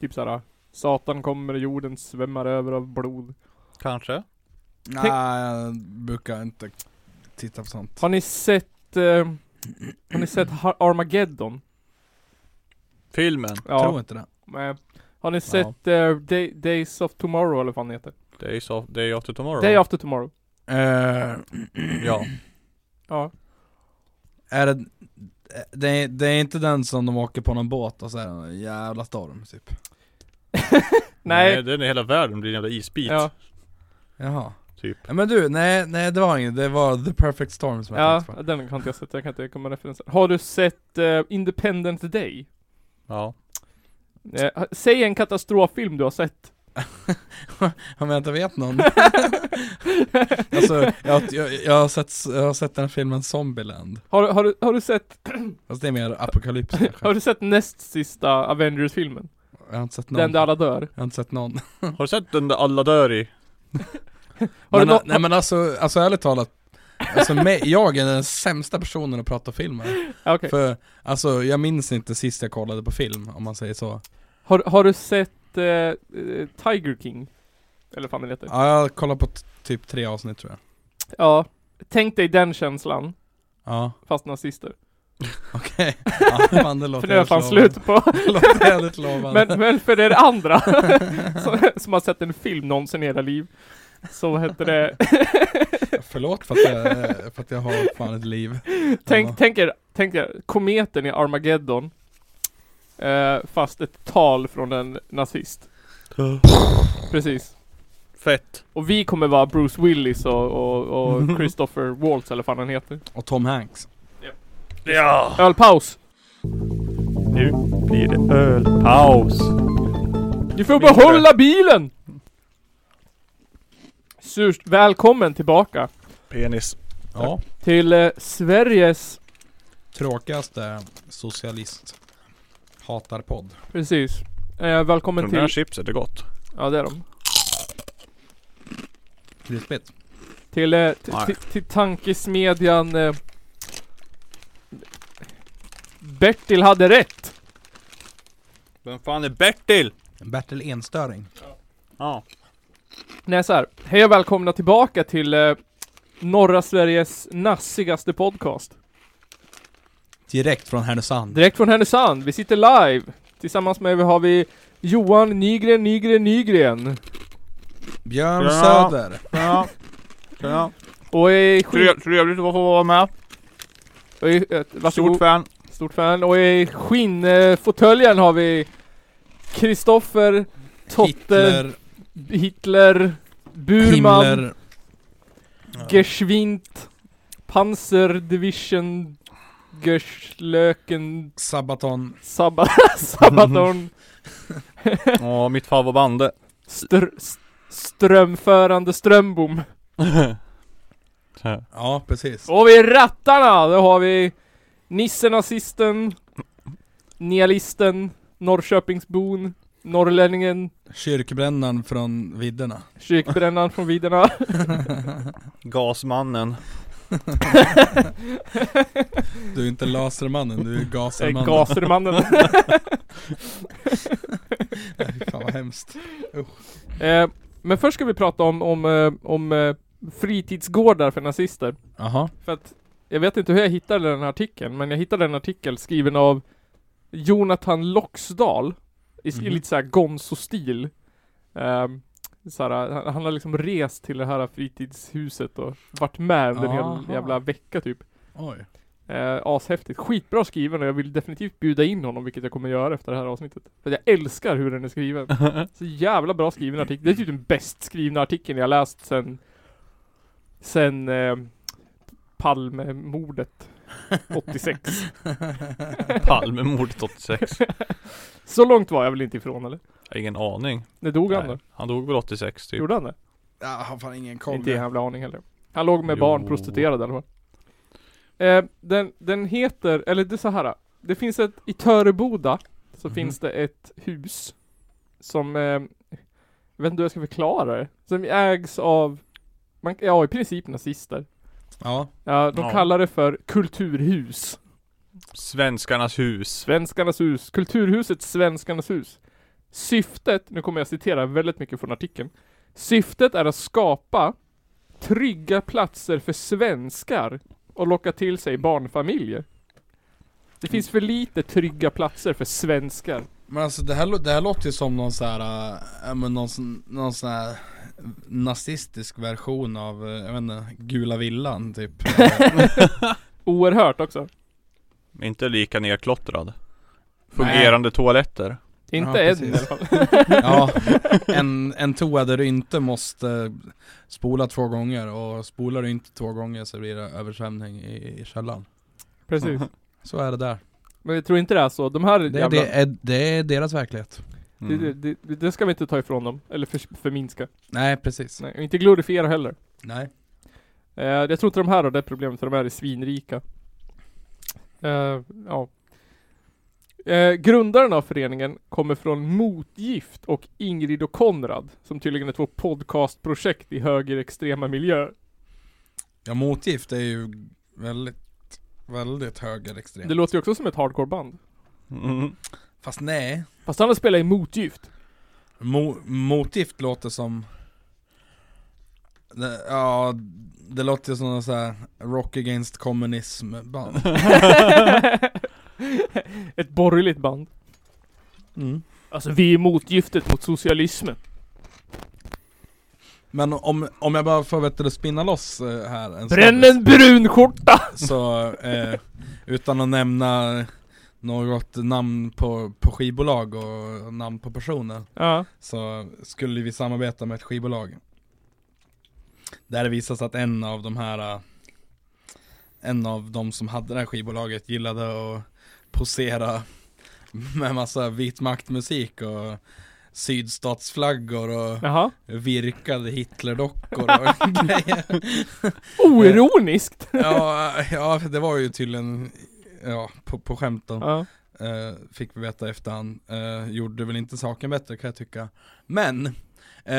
Typ så här. Satan kommer och jorden svämmar över av blod. Kanske. Nej jag brukar inte titta på sånt Har ni sett, eh, har ni sett Har- Armageddon? Filmen. Tror inte det men Eh, Har ni sett eh, Day, Days of Tomorrow eller vad fan heter? Days of, Day After Tomorrow. Day After Tomorrow. eh, Ja. Ja. Är det, det, är, det är inte den som de åker på någon båt och så är det en jävla storm typ Nej. Den i hela världen blir en jävla isbit. Ja. Jaha Typ. ja, Men du, nej, nej det var inget, det var The Perfect Storm som jag Ja, tänkte på den har inte jag sett, jag kan inte komma referenser. Har du sett eh, Independent Day? Ja. Eh, ha- säg en katastroffilm du har sett. Om jag inte vet någon Alltså, jag, jag, jag, har sett, jag har sett den filmen Zombieland Har, du- har, du, har du sett, Fast det är mer apokalyps kanske har du sett näst sista Avengers-filmen? Jag har inte sett någon Den där alla dör. Jag har inte sett någon Har du sett den där alla dör i? Har men, du nå- Nej men alltså, alltså ärligt talat Alltså mig, jag är den sämsta personen att prata film med Ja, okej. För, alltså jag minns inte sist jag kollade på film om man säger så Har, har du sett eh, eh, Tiger King? Eller vad fan den heter. Ja, jag kollar på t- typ tre avsnitt tror jag. Ja. Tänk dig den känslan, Ja, fast nazister. okej. Ja, fan det För låter det är jävligt fan lovande. slut på. Det låter jävligt lovande. Men, men för er andra som, som har sett en film någonsin i era liv. Så vad heter det? Förlåt för att, jag, för att jag har fan ett liv. Tänk, Ja. tänk er tänk er, kometen i Armageddon. Eh, fast ett tal från en nazist. Precis. Fett. Och vi kommer vara Bruce Willis och, och, och Christopher Waltz eller vad fan han heter. Och Tom Hanks. Ja! Ölpaus! Nu blir det ölpaus. Du får Mindre. behålla bilen! Surt, välkommen tillbaka Penis. Ja. till eh, Sveriges, Tråkigaste socialist hatar podd. precis. Eh, välkommen Men de här till, chipset är gott. ja det är de. Krispigt. Till, eh, t- Nej. t- till tankesmedjan eh, Bertil hade rätt! Vem fan är Bertil? Bertil Enstöring. Ja. Nej så här. hej och välkomna tillbaka till eh, norra Sveriges nassigaste podcast. Direkt från Härnösand. Direkt från Härnösand, vi sitter live! Tillsammans med har vi Johan Nygren, Nygren, Nygren. Björn Ja. Söder. Ja. ja. Och är skit... Tre- Trevligt att få vara med. Och i, eh, varsågod. Stort fan. Stort fan. Och i skinnfåtöljen har vi Kristoffer, Totte, Hitler. Hitler, Burman, Himmler. Geschwint, Panzerdivision, Gerslöken, Sabaton. Sabba, Sabaton, Åh, mitt favoritband. str, s- Strömförande Strömbom. Ja, precis. Och vi rattarna, då har vi Nisse Nazisten, Nialisten, Norrköpingsbon, Norrlänningen, Kyrkbrännaren från vidderna. Kyrkbrännaren från Vidderna. Gasmannen. Du är inte Lasermannen, du är Eh, Gasermannen. Gasermannen. Nej, Fan vad hemskt. eh, men först ska vi prata om, om, eh, om eh, fritidsgårdar för nazister. Jaha. För att jag vet inte hur jag hittade den här artikeln, men jag hittade en artikel skriven av Jonathan Loxdal i, i Mhm. lite såhär gonzo-stil. Ehm, såhär, han, han har liksom rest till det här fritidshuset och varit med under en Aha. hel jävla vecka typ. Oj. Eh, ashäftigt. Skitbra skriven och jag vill definitivt bjuda in honom, vilket jag kommer göra efter det här avsnittet. För jag älskar hur den är skriven. Så jävla bra skriven artikel. Det är typ den bäst skrivna artikeln jag läst sen... Sen... Eh, Palmemordet 86. Palmemordet 86. Så långt var jag väl inte ifrån eller? Jag har ingen aning. När dog han då? Nej. Han dog väl 86 typ. Gjorde han det? Jag har fan ingen koll. Inte i jävla aning heller. Han låg med barn, Jo. prostituerade i alla fall. Eh, den, den heter, eller det är så här. Det finns ett, i Töreboda så Mhm. finns det ett hus som, eh, jag vet inte hur jag ska förklara det, som ägs av, man, ja i princip nazister. Ja. Ja, de Ja. kallar det för kulturhus. Svenskarnas hus. Svenskarnas hus. Kulturhuset Svenskarnas hus. Syftet, nu kommer jag citera väldigt mycket från artikeln. Syftet är att skapa trygga platser för svenskar och locka till sig barnfamiljer. Det finns för lite trygga platser för svenskar. Men alltså det här, lå- det här låter ju som någon sån här, äh, ja, men någon, sån- någon sån här nazistisk version av, eh, jag vet inte, Gula Villan typ. Oerhört också. Inte lika nerklottrad. Fungerande toaletter. Inte Ja, än i alla precis. fall. ja, en, en toa där du inte måste spola två gånger och spolar du inte två gånger så blir det översvämning i, i källaren. Precis. Så är det där. Men jag tror inte det är så. De här Det, jävla... det, är, det är deras verklighet. Mm. Det, det, det, det ska vi inte ta ifrån dem. Eller för, förminska. Nej precis. Nej, och inte glorifiera heller. Nej. Eh, jag tror inte de här har det problemet för de här är svinrika. Eh, ja. Eh, grundaren av föreningen kommer från Motgift och Ingrid och Konrad, som tydligen är två podcastprojekt i högerextrema miljöer. Ja motgift är ju väldigt, väldigt högerextremt. Det låter ju också som ett hardcoreband. Mm. Fast nej. Fast han har spelat i Motgift. Mo- motgift låter som det, Ja, det låter ju som någon sån här Rock Against Communism band ett borgerligt band. mm. Alltså vi är motgiftet mot socialismen. Men om, om jag bara får vet du, spinna loss eh, här en Bränn snabbis, en brun skjorta! Så, eh, utan att nämna något namn på, på skivbolag och namn på personer Ja. Så skulle vi samarbeta med ett skivbolag Där det visade sig att en av de här eh, En av de som hade det här skivbolaget gillade att posera Med massa vit maktmusik och Sydstatsflaggor och Jaha. virkade Hitlerdockor och grejer Oironiskt! ja, ja, det var ju tydligen Ja, på, på skämt då Ja. Eh, Fick vi veta i efterhand. Eh, gjorde väl inte saken bättre kan jag tycka. Men! Eh,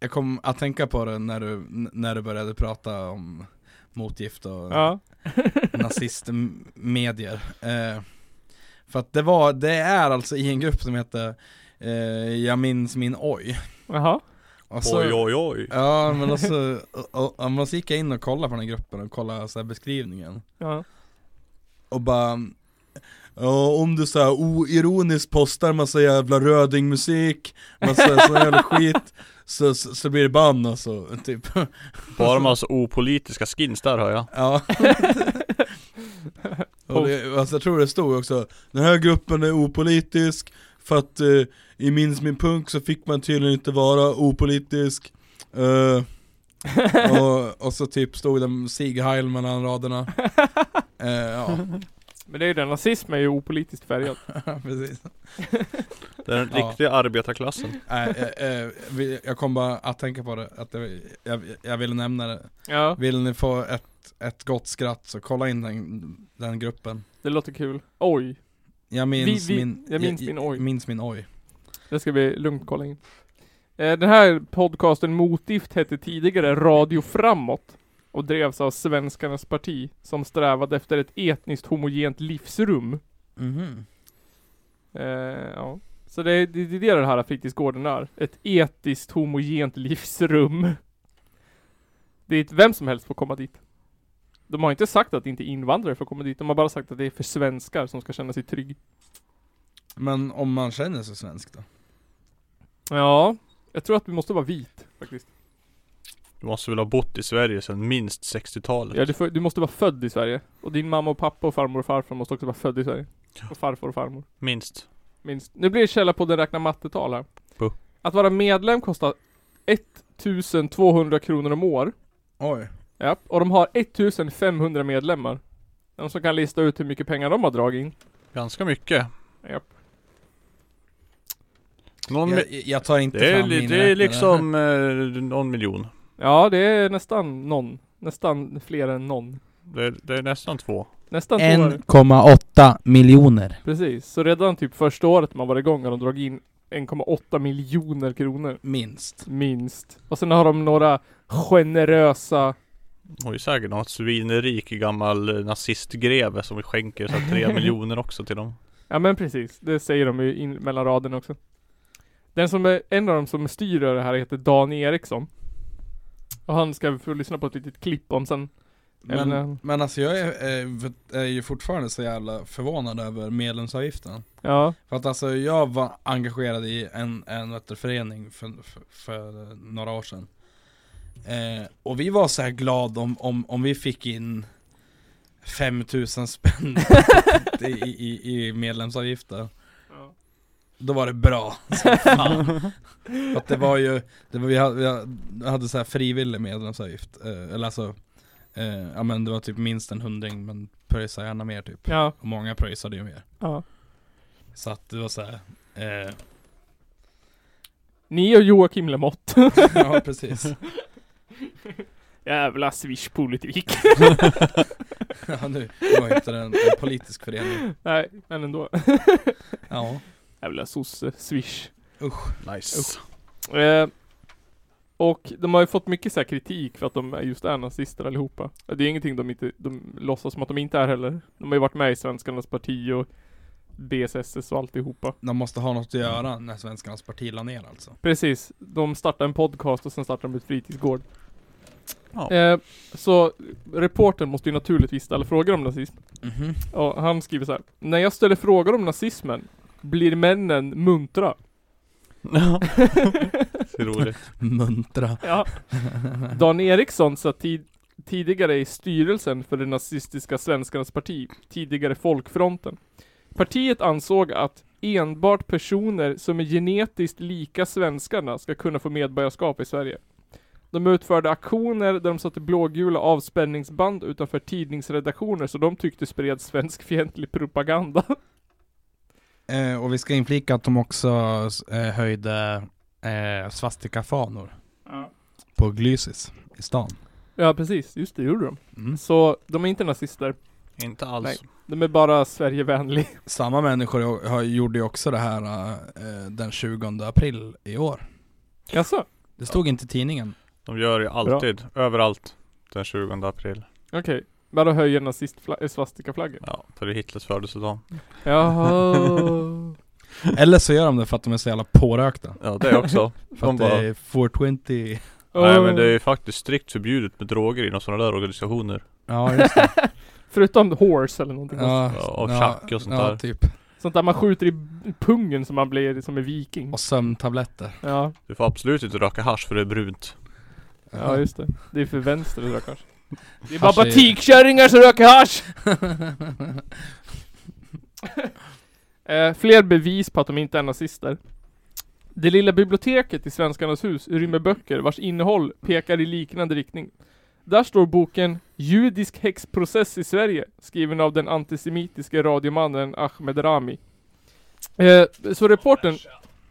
jag kom att tänka på det när du, n- när du började prata om motgift och ja. nazistmedier. Eh, för att det var, det är alltså i en grupp som heter eh, Jag minns min oj. Jaha. Och så- Oj oj oj. Alltså- Ja men alltså, och, och, och, och så gick jag in och kollade på den här gruppen och kollade så här beskrivningen. Ja. Och bara Ja, om du såhär oironiskt postar massa jävla rödingmusik, massa sån jävla skit så, så, så blir det bann och så, typ Bara massa opolitiska skins där hör jag. Ja och det, alltså, Jag tror det stod också Den här gruppen är opolitisk För att eh, i Minns min punk så fick man tydligen inte vara opolitisk Eh, och, och så typ stod det Sieg Heil mellan raderna Eh, Ja, Men det är ju det, nazism är ju opolitiskt färgad. precis Den Ja. riktiga arbetarklassen. Nej, eh, eh, vi- jag kom bara att tänka på det, att det, jag, jag ville nämna det. Ja, Vill ni få ett, ett gott skratt så kolla in den, den gruppen. det låter kul. Oj. Jag minns Vi- vi- min, jag minns min oj. Minns min oj. Det ska vi lugnt kolla in. Eh, Den här podcasten Motgift hette tidigare Radio Framåt och drevs av Svenskarnas parti som strävade efter ett etniskt homogent livsrum. Mhm. Eh, ja. Så det, det, det är det den här fritidsgården är. Ett etiskt homogent livsrum. Dit vem som helst får komma dit. De har inte sagt att inte invandrare får komma dit, de har bara sagt att det är för svenskar som ska känna sig trygg. Men om man känner sig svensk då? Ja, jag tror att vi måste vara vit faktiskt. Du måste väl ha bott i Sverige sedan minst 60-talet. Ja, du, får, du måste vara född i Sverige. Och din mamma och pappa och farmor och farfar måste också vara född i Sverige. Och farfar och farmor. Minst. Minst. Nu blir det källa på den räkna mattetal här. Puh. Att vara medlem kostar 1200 kronor om år. Oj. Ja, och de har 1500 medlemmar. De som kan lista ut hur mycket pengar de har dragit in. Ganska mycket. Ja. Någon mi- Jag, jag tar inte det, är, fram li- min det är räknare. liksom eh, någon miljon. ja, det är nästan någon. Nästan fler än någon. Det, är- det är nästan två. Nästan två år. 1,8 miljoner. Precis. Så redan typ första året man var igång har de dragit in 1,8 miljoner kronor. Minst. Minst. Och sen har de några generösa... Hon är ju säkert något svinrik gammal eh, nazistgreve som skänker så här tre miljoner också till dem. Ja men precis. Det säger de ju in mellan raderna också. Den som är, en av dem som styr det här heter Dan Eriksson. Och han ska vi få lyssna på ett litet klipp om sen. Men, Eller- men alltså jag är, är, är ju fortfarande så jävla förvånad över medlemsavgiften. Ja. För att alltså jag var engagerad i en, en vet du, förening för, för, för några år sedan eh, Och vi var så här glada om, om, om vi fick in 5000 spänn i, i, i medlemsavgifter Ja. Då var det bra som fan. För att det var ju, det var, vi hade, vi hade- hade så här frivillig medlemsavgift eh, Eller alltså, eh, ja men det var typ minst en hundring men pröjsa gärna mer typ Ja. Och många pröjsade ju mer ja. Så att det var så här, eh, Ni och Joakim Lamotte. Ja precis, Jävla swishpolitik. ja, nu var inte det en, en politisk förening Nej, men ändå. Ja, Jävla sosse-swish. Nice. Eh, och de har ju fått mycket så här kritik för att de är just är nazister allihopa. Det är ingenting de inte, de låtsas som att de inte är heller. De har ju varit med i Svenskarnas parti och BSSS och alltihopa. de måste ha något att göra när svenskarnas parti la ner alltså Precis, de startar en podcast och sen startar de ett fritidsgård. Ja. Eh, så reportern måste ju naturligtvis ställa frågor om nazism. Mhm Ja, han skriver så här. När jag ställer frågor om nazismen blir männen muntra. Det är roligt. Muntra. Ja. Dan Eriksson satt tid tidigare i styrelsen för det nazistiska Svenskarnas parti, tidigare Folkfronten. Partiet ansåg att enbart personer som är genetiskt lika svenskarna ska kunna få medborgarskap i Sverige. De utförde aktioner där de satte blågula avspänningsband utanför tidningsredaktioner så de tyckte spred svenskfientlig propaganda. Eh, och vi ska inflika att de också eh, höjde eh, svastikafanor på Glysis i stan. Ja precis, just det gjorde de. Mm. Så de är inte nazister, Inte alls. Nej. de är bara Sverigevänlig. Samma människor har- har, gjorde ju också det här eh, den 20 april i år. Jaså? Det stod inte i tidningen. De gör ju alltid, överallt, den 20 april. Okej. Bara höjer nazistfla- eh, svastikaflaggor. Ja, för det är Hitlers födelsedag. Jaha. Eller så gör de det för att de är så jävla pårökta. Ja, det också. För De att det bara, är Oh." 420. nej men det är ju faktiskt strikt förbjudet med droger inom sådana där organisationer. Ja just det. Förutom Oh. horse eller någonting sånt. Ja, Ja, och ja, schack och sånt ja, där. typ. Sånt där man skjuter i pungen som man blir som en viking. Och sömntabletter. Ja, Du får absolut inte röka hasch för det är brunt. ja just det. Det är för vänster det rökar. Det är Hasch bara är- batikkärringar som röker hasch! Eh, fler bevis på att de inte är nazister. Det lilla biblioteket i Svenskarnas hus rymmer böcker vars innehåll pekar i liknande riktning. Där står boken Judisk häxprocess i Sverige, skriven av den antisemitiske radiomannen Ahmed Rami. Eh, så reporten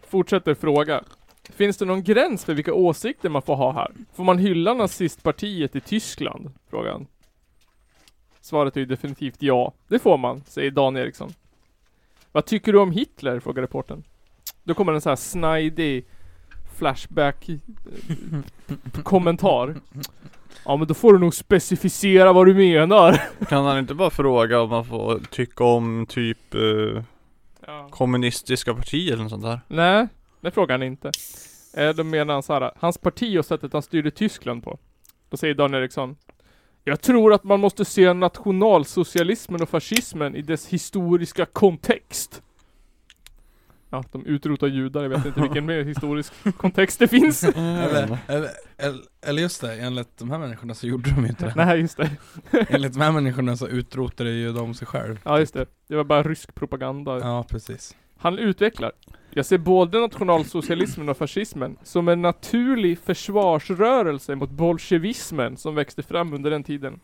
fortsätter fråga. Finns det någon gräns för vilka åsikter man får ha här? Får man hylla nazistpartiet i Tyskland? Frågar han. Svaret är ju definitivt ja. Det får man, säger Dan Eriksson. Vad tycker du om Hitler? frågar reportern. Då kommer en så här snidig flashback eh, kommentar. Ja men då får du nog specificera vad du menar. Kan han inte bara fråga om man får tycka om typ eh, kommunistiska partier eller något sånt där? Nej, det frågar han inte. Eh, Då menar han så här, hans parti och sättet han styrde Tyskland på. Då säger Dan Eriksson. Jag tror att man måste se nationalsocialismen och fascismen i dess historiska kontext. Ja, de utrotar judar, jag vet inte vilken mer historisk kontext det finns. Mm. Eller, eller, eller, eller just det, enligt de här människorna så gjorde de ju inte det. Nej, just det. Enligt de här människorna så utrotade ju de sig själv. Ja, just det. Det var bara rysk propaganda. Ja precis. Han utvecklar. Jag ser både nationalsocialismen och fascismen som en naturlig försvarsrörelse mot bolsjevismen som växte fram under den tiden.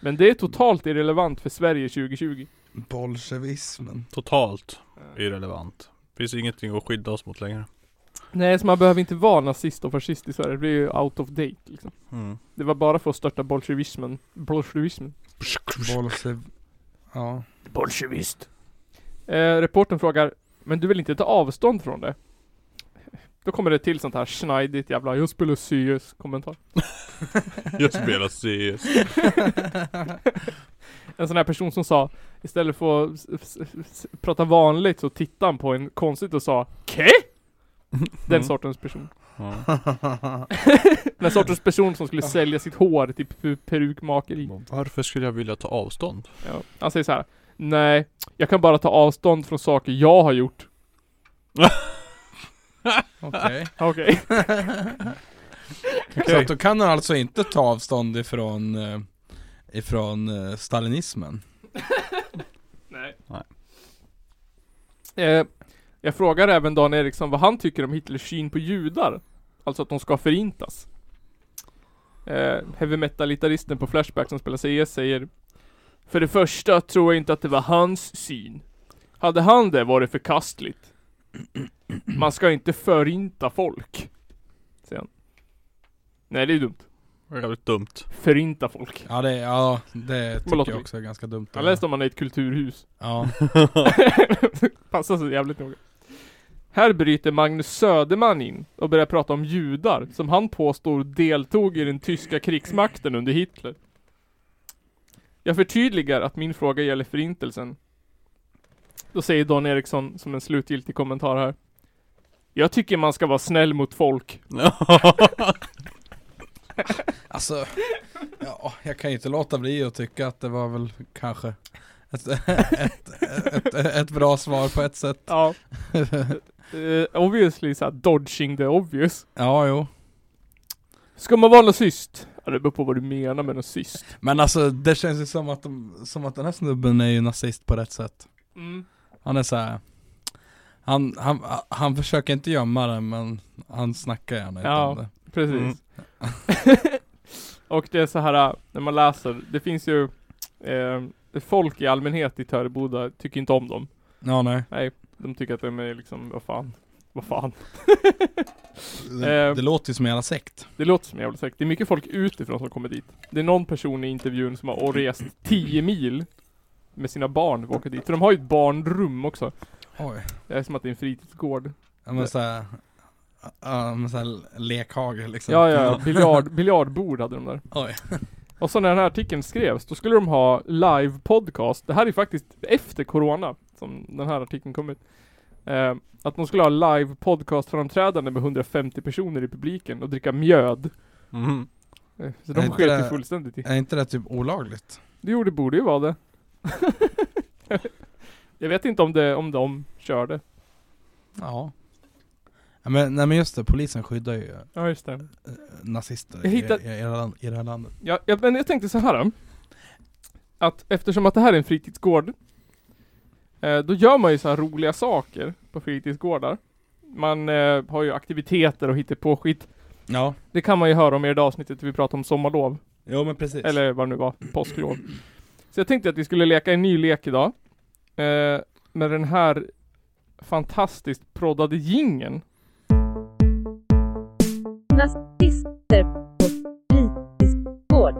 Men det är totalt irrelevant för Sverige 2020. Bolsjevismen. Totalt irrelevant. Finns ingenting att skydda oss mot längre. Nej, så man behöver inte vara nazist och fascist i Sverige. Det blir ju out of date liksom. Mm. Det var bara för att störta bolsjevismen. Bolsjevismen. Bolsjev... Ja. Bolsjevist. Eh, reporten frågar, men du vill inte ta avstånd från det? Då kommer det till sånt här snajdigt jävla 'Jag spelar CS' kommentar. Jag spelar CS. En sån här person som sa Istället för att s- s- s- prata vanligt så tittade han på en konstigt och sa KE? Den Mm. sortens person. Ja. Den sortens person som skulle sälja sitt hår till p- perukmakeri. Varför skulle jag vilja ta avstånd? Ja. Han säger så här. Nej, jag kan bara ta avstånd från saker jag har gjort. Okej. Okej. Så att då kan han alltså inte ta avstånd ifrån, eh, ifrån eh, stalinismen? Nej. Nej. Eh, jag frågar även Dan Eriksson vad han tycker om Hitlers syn på judar. Alltså att de ska förintas. Eh, heavy metal-gitarristen på Flashback som spelar CS säger För det första tror jag inte att det var hans syn. Hade han det var det förkastligt. Man ska inte förinta folk. Säger han. Nej det är dumt. Det är jävligt dumt. Förinta folk. Ja det, ja, det tycker låter jag vi. också är ganska dumt Jag läste om man är i ett kulturhus. Ja, Passa sig jävligt noga. Här bryter Magnus Söderman in och börjar prata om judar som han påstår deltog i den tyska krigsmakten under Hitler. Jag förtydligar att min fråga gäller förintelsen. Då säger Dan Eriksson som en slutgiltig kommentar här. Jag tycker man ska vara snäll mot folk. Mm. alltså ja, Jag kan ju inte låta bli att tycka att det var väl kanske ett, ett, ett, ett, ett bra svar på ett sätt Ja. eh, obviously såhär dodging the obvious. Ja, jo. Ska man vara nazist? Ja, det beror på vad du menar med nazist. Men alltså det känns ju som att, de, som att den här snubben är ju nazist på rätt sätt. Mm. Han är så här. Han, han, han försöker inte gömma det men han snackar gärna inte Ja. om det. Precis. Mm. och det är så här äh, när man läser, det finns ju eh, folk i allmänhet i Töreboda tycker inte om dem. Ja, nej. Nej, de tycker att de är liksom, vad fan, vad fan. Det, Eh. det låter ju som en jävla sekt. Det låter som en jävla säkert. Det är mycket folk utifrån som kommer dit. Det är någon person i intervjun som har rest 10 mil med sina barn och åker dit. För de har ju ett barnrum också. Oj. Det är som att det är en fritidsgård. Ja men såhär, ja men såhär lekhage liksom. Ja, ja, ja. biljard, biljardbord hade de där. Oj. Och så när den här artikeln skrevs, då skulle de ha live podcast. Det här är faktiskt efter corona som den här artikeln kom ut. Eh, att de skulle ha live podcast framträdande med 150 personer i publiken och dricka mjöd. Mhm. Eh, Så Är de inte sket ju det- fullständigt i. Är inte det typ olagligt? Jo, det borde ju vara det. Jag vet inte om, det, om de körde. Ja. ja men, nej men just det, polisen skyddar ju eh, Ja, just det. nazister Jag i, hittar- i, i, det här land- i det här landet. Ja, jag, men jag tänkte så här. då. Att eftersom att det här är en fritidsgård. Eh, då gör man ju så här roliga saker på fritidsgårdar. Man eh, har ju aktiviteter och hittar på skit. Ja. Det kan man ju höra om i det där avsnittet vi pratade om sommarlov. Jo men precis. Eller vad det nu var, påsklov. Så jag tänkte att vi skulle leka en ny lek idag. Eh, med den här fantastiskt proddade gingen. Nazister på fritidsgård.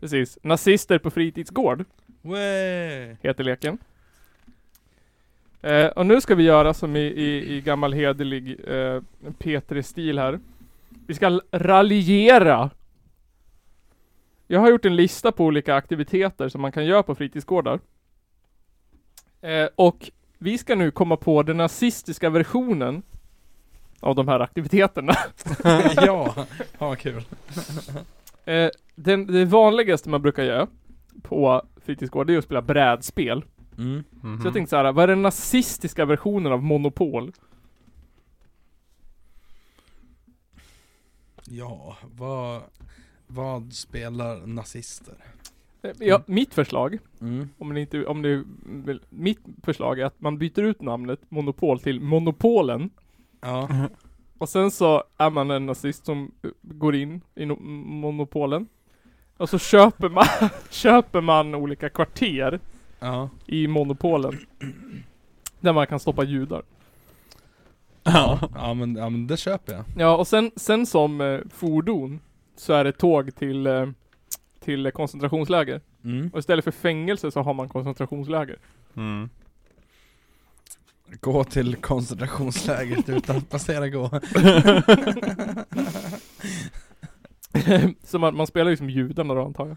Precis. Nazister på fritidsgård Way. heter leken. Eh, och nu ska vi göra som i, i, i gammal hederlig eh, P3-stil här. Vi ska l- raljera. Jag har gjort en lista på olika aktiviteter som man kan göra på fritidsgårdar. Eh, och vi ska nu komma på den nazistiska versionen av de här aktiviteterna. ja, ja vad kul. Eh, den, det vanligaste man brukar göra på fritidsgårdar är att spela brädspel. Mm. Mhm. Så jag tänkte så här, vad är den nazistiska versionen av Monopol? Ja, vad, vad spelar nazister? Eh, Ja, mitt förslag, Mm. om ni inte, om ni vill, mitt förslag är att man byter ut namnet Monopol till Monopolen Ja. och sen så är man en nazist som eh, går in i no- Monopolen och så köper man, köper man olika kvarter Ja. i Monopolen där man kan stoppa judar. Ja. Ja, men, ja men det köper jag. Ja, och sen, sen som eh, fordon så är det tåg till, eh, till eh, koncentrationsläger. Mm. Och istället för fängelse så har man koncentrationsläger. Mm. Gå till koncentrationslägret utan att passera gå. så man, man spelar ju som judarna då antar jag.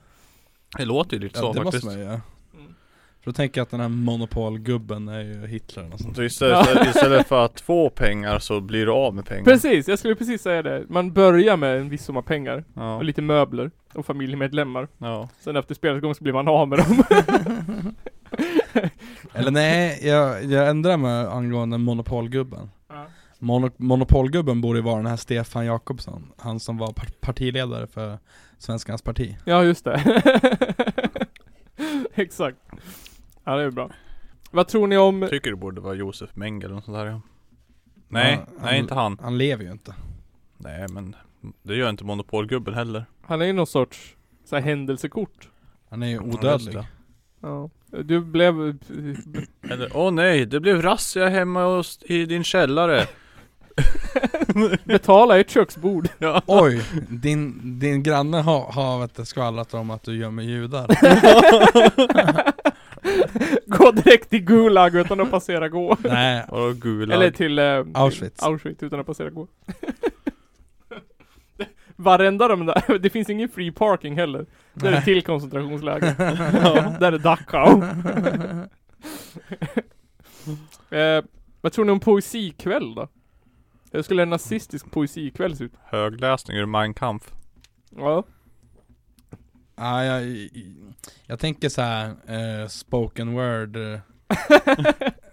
Det låter ju lite Ja, så det faktiskt. måste man ju göra. Mm. För då tänker jag att den här monopolgubben är ju Hitler eller något sånt. Så istället, istället- istället för att få pengar så blir du av med pengar. Precis, jag skulle precis säga det. Man börjar med en viss summa pengar Ja. och lite möbler och familjemedlemmar. ja. Sen efter spelets gång så blir man av med dem. Eller nej, jag, jag ändrar mig angående monopolgubben. Ja. Mono, monopolgubben borde ju vara den här Stefan Jakobsson, han som var par- partiledare för Svenskans parti. ja, just det. Exakt. Ja, det är bra. Vad tror ni om... Tycker det borde vara Josef Mengele eller något sånt där ja. Nej, Ja, han- nej inte han. Han lever ju inte. Nej men det gör inte monopolgubben heller. Han är ju någon sorts så här, händelsekort. Han är ju Ja, just odödlig. det. Ja. Du blev... Eller åh nej, det blev razzia hemma hos, i din källare. Betala ett köksbord. ja. Oj, din, din granne har, har vet, du, skvallrat om att du gömmer judar. gå direkt till Gulag utan att passera gå. Nej, Vadå gula? Eller till eh, Auschwitz. Auschwitz utan att passera gå. Varenda de där, det finns ingen free parking heller. Där är Nej. till koncentrationsläger. ja, där är Dachau. eh, vad tror ni om poesikväll då? Hur skulle en nazistisk poesikväll se ut? Högläsning ur Mein Kampf. Ja. ja, jag, jag tänker så här eh, spoken word eh,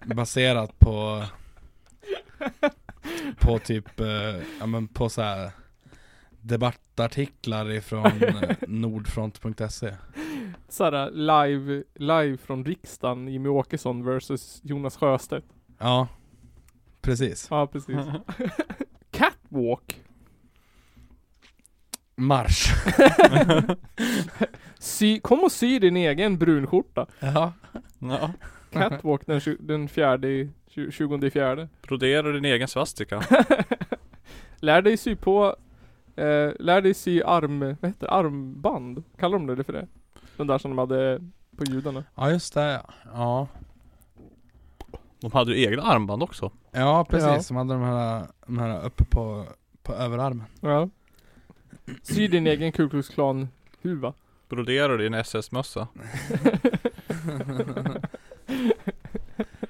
baserat på på typ, eh, ja men på så här debattartiklar ifrån eh, nordfront.se Såhär live, live från riksdagen, Jimmy Åkesson versus Jonas Sjöstedt. Ja, precis. Ja, precis. Catwalk. Marsch. Sy, kom och sy din egen brunskjorta. Ja. Ja. Catwalk den, tju- den fjärde, i- tju- tjugonde i fjärde. Brodera din egen svastika. Lär dig sy på, eh, lär dig sy arm, vad heter det? armband? Kallar de det för det? De där som de hade på judarna. Ja just det, ja. De hade ju egna armband också. Ja precis, Ja. som hade de här, de här uppe på, på överarmen. Ja. Sy din egen Ku Klux Klan huva. Brodera din SS-mössa.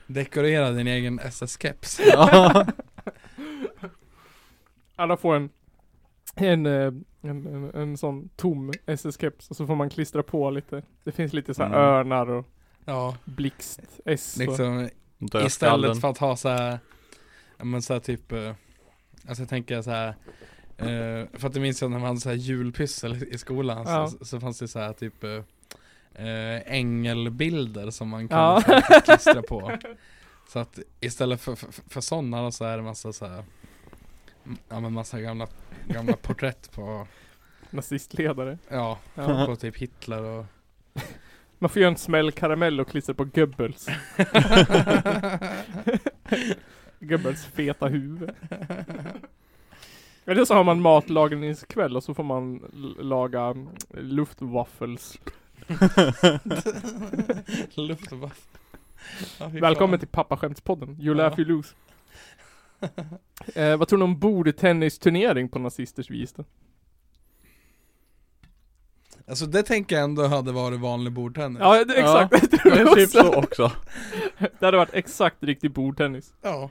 Dekorera din egen SS-keps. Alla får en en, eh, en, en, en sån tom SS-keps och så får man klistra på lite. Det finns lite så här Mm. örnar och Ja, blixt, S och liksom Dödskallen. istället för att ha så här, ja men så här typ, eh, alltså jag tänker så här eh, för att jag minns ju när man hade så här julpyssel i skolan Ja. så, så fanns det så här typ eh, eh, Ängelbilder som man kunde Ja. så här klistra på Så att istället för, för, för sådana då så är det massa så här mm, Ja men massa gamla, gamla porträtt på, nazistledare. ja, Ja. på typ Hitler och Man får göra en smäll karamell och klistra på Goebbels. Goebbels feta huvud. Eller så har man matlagningskväll och så får man l- laga mm, luftwaffles. Luftwaff ja, fy Välkommen fan. till Pappaskämtspodden. You Ja. laugh, you lose. Eh, vad tror ni om bordtennisturnering på nazisters vis då? Alltså det tänker jag ändå hade varit vanlig bordtennis Ja, det, Ja. exakt. det, tror Men jag typ också. så också. det hade varit exakt riktig bordtennis. Ja.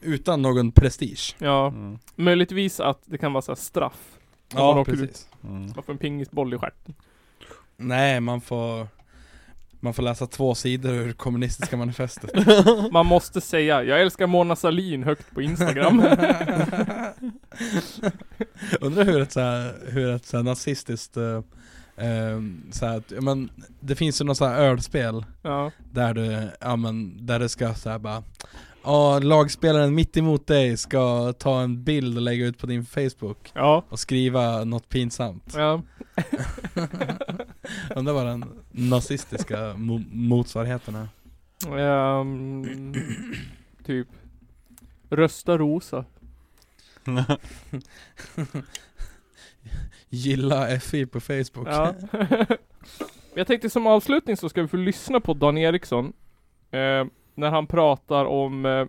Utan någon prestige Ja, Mm. möjligtvis att det kan vara så här straff. Om man Ja åker precis Mm. Man får en pingisboll i stjärten. Nej man får Man får läsa två sidor ur kommunistiska manifestet Man måste säga, jag älskar Mona Sahlin högt på Instagram. Undrar hur ett såhär, hur ett såhär nazistiskt eh, eh, såhär, att, ja, men, Det finns ju något såhär ölspel ja. Där du, ja men, där det ska såhär bara Ja, lagspelaren mitt emot dig ska ta en bild och lägga ut på din Facebook Ja. och skriva något pinsamt Ja. Undrar vad den nazistiska mo- motsvarigheten är Ehm, typ. Rösta rosa. Gilla FI på Facebook Ja. Jag tänkte som avslutning så ska vi få lyssna på Dan Eriksson. Eh, när han pratar om, eh,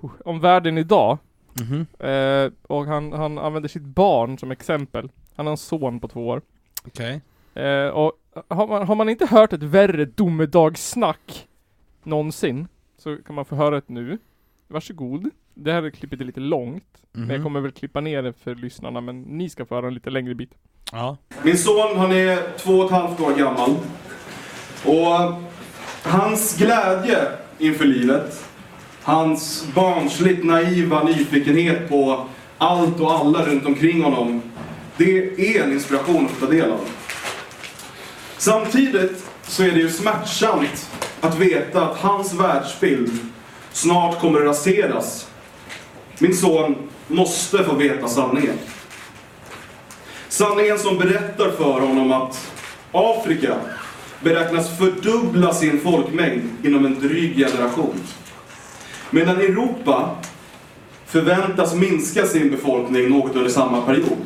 om, om världen idag. Mhm. Eh, och han, han använder sitt barn som exempel. Han har en son på två år. Okej Eh, och har man, har man inte hört ett värre domedagssnack någonsin så kan man få höra ett nu. Varsågod. Det här klippet är lite långt, men jag Mhm. kommer väl klippa ner det för lyssnarna, men ni ska få höra en lite längre bit. Ja Min son, han är två och ett halvt år gammal. Och hans glädje inför livet, hans barnsligt naiva nyfikenhet på allt och alla runt omkring honom, det är en inspiration att ta del av. Samtidigt så är det ju smärtsamt att veta att hans världsbild snart kommer att raseras. Min son måste få veta sanningen. Sanningen som berättar för honom att Afrika beräknas fördubbla sin folkmängd inom en dryg generation. Medan Europa förväntas minska sin befolkning något under samma period.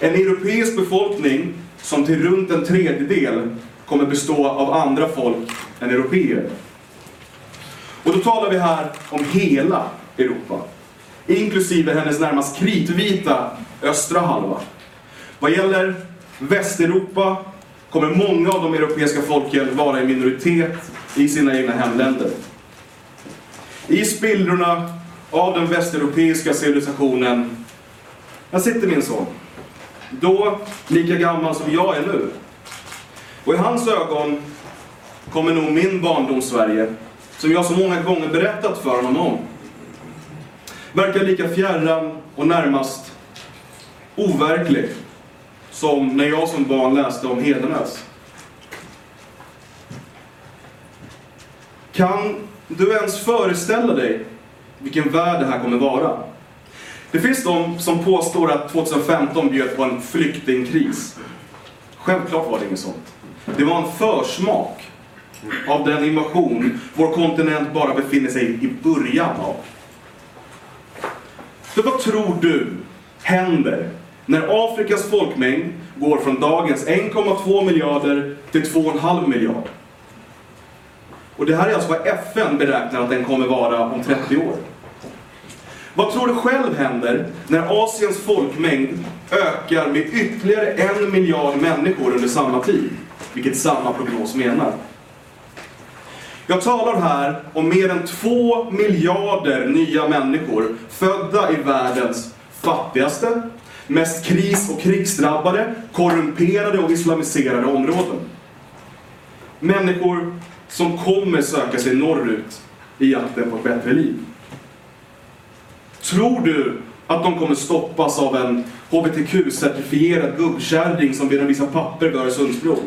En europeisk befolkning som till runt en tredjedel kommer bestå av andra folk än européer. Och då talar vi här om hela Europa. Inklusive hennes närmast kritvita östra halva. Vad gäller Västeuropa kommer många av de europeiska folken vara i minoritet i sina egna hemländer. I spillrorna av den västeuropeiska civilisationen, här sitter min son. Då lika gammal som jag är nu. Och i hans ögon kommer nog min barndom Sverige som jag så många gånger berättat för honom om verkar lika fjärran och närmast overklig som när jag som barn läste om Hedenäs. Kan du ens föreställa dig vilken värld det här kommer vara? Det finns de som påstår att 2015 bjöd på en flyktingkris. Självklart var det inget sånt. Det var en försmak av den invasion vår kontinent bara befinner sig i början av. För vad tror du händer när Afrikas folkmängd går från dagens 1,2 miljarder till 2,5 miljarder? Och det här är alltså vad FN beräknar att den kommer vara om 30 år. Vad tror du själv händer när Asiens folkmängd ökar med ytterligare en miljard människor under samma tid? Vilket samma prognos menar. Jag talar här om mer än två miljarder nya människor födda i världens fattigaste, mest kris och krigsdrabbade, korrumperade och islamiserade områden. Människor som kommer söka sig norrut i jakten på ett bättre liv. Tror du att de kommer stoppas av en hbtq-certifierad gubbkärring som ber dem visa papper vid Öresundsbron?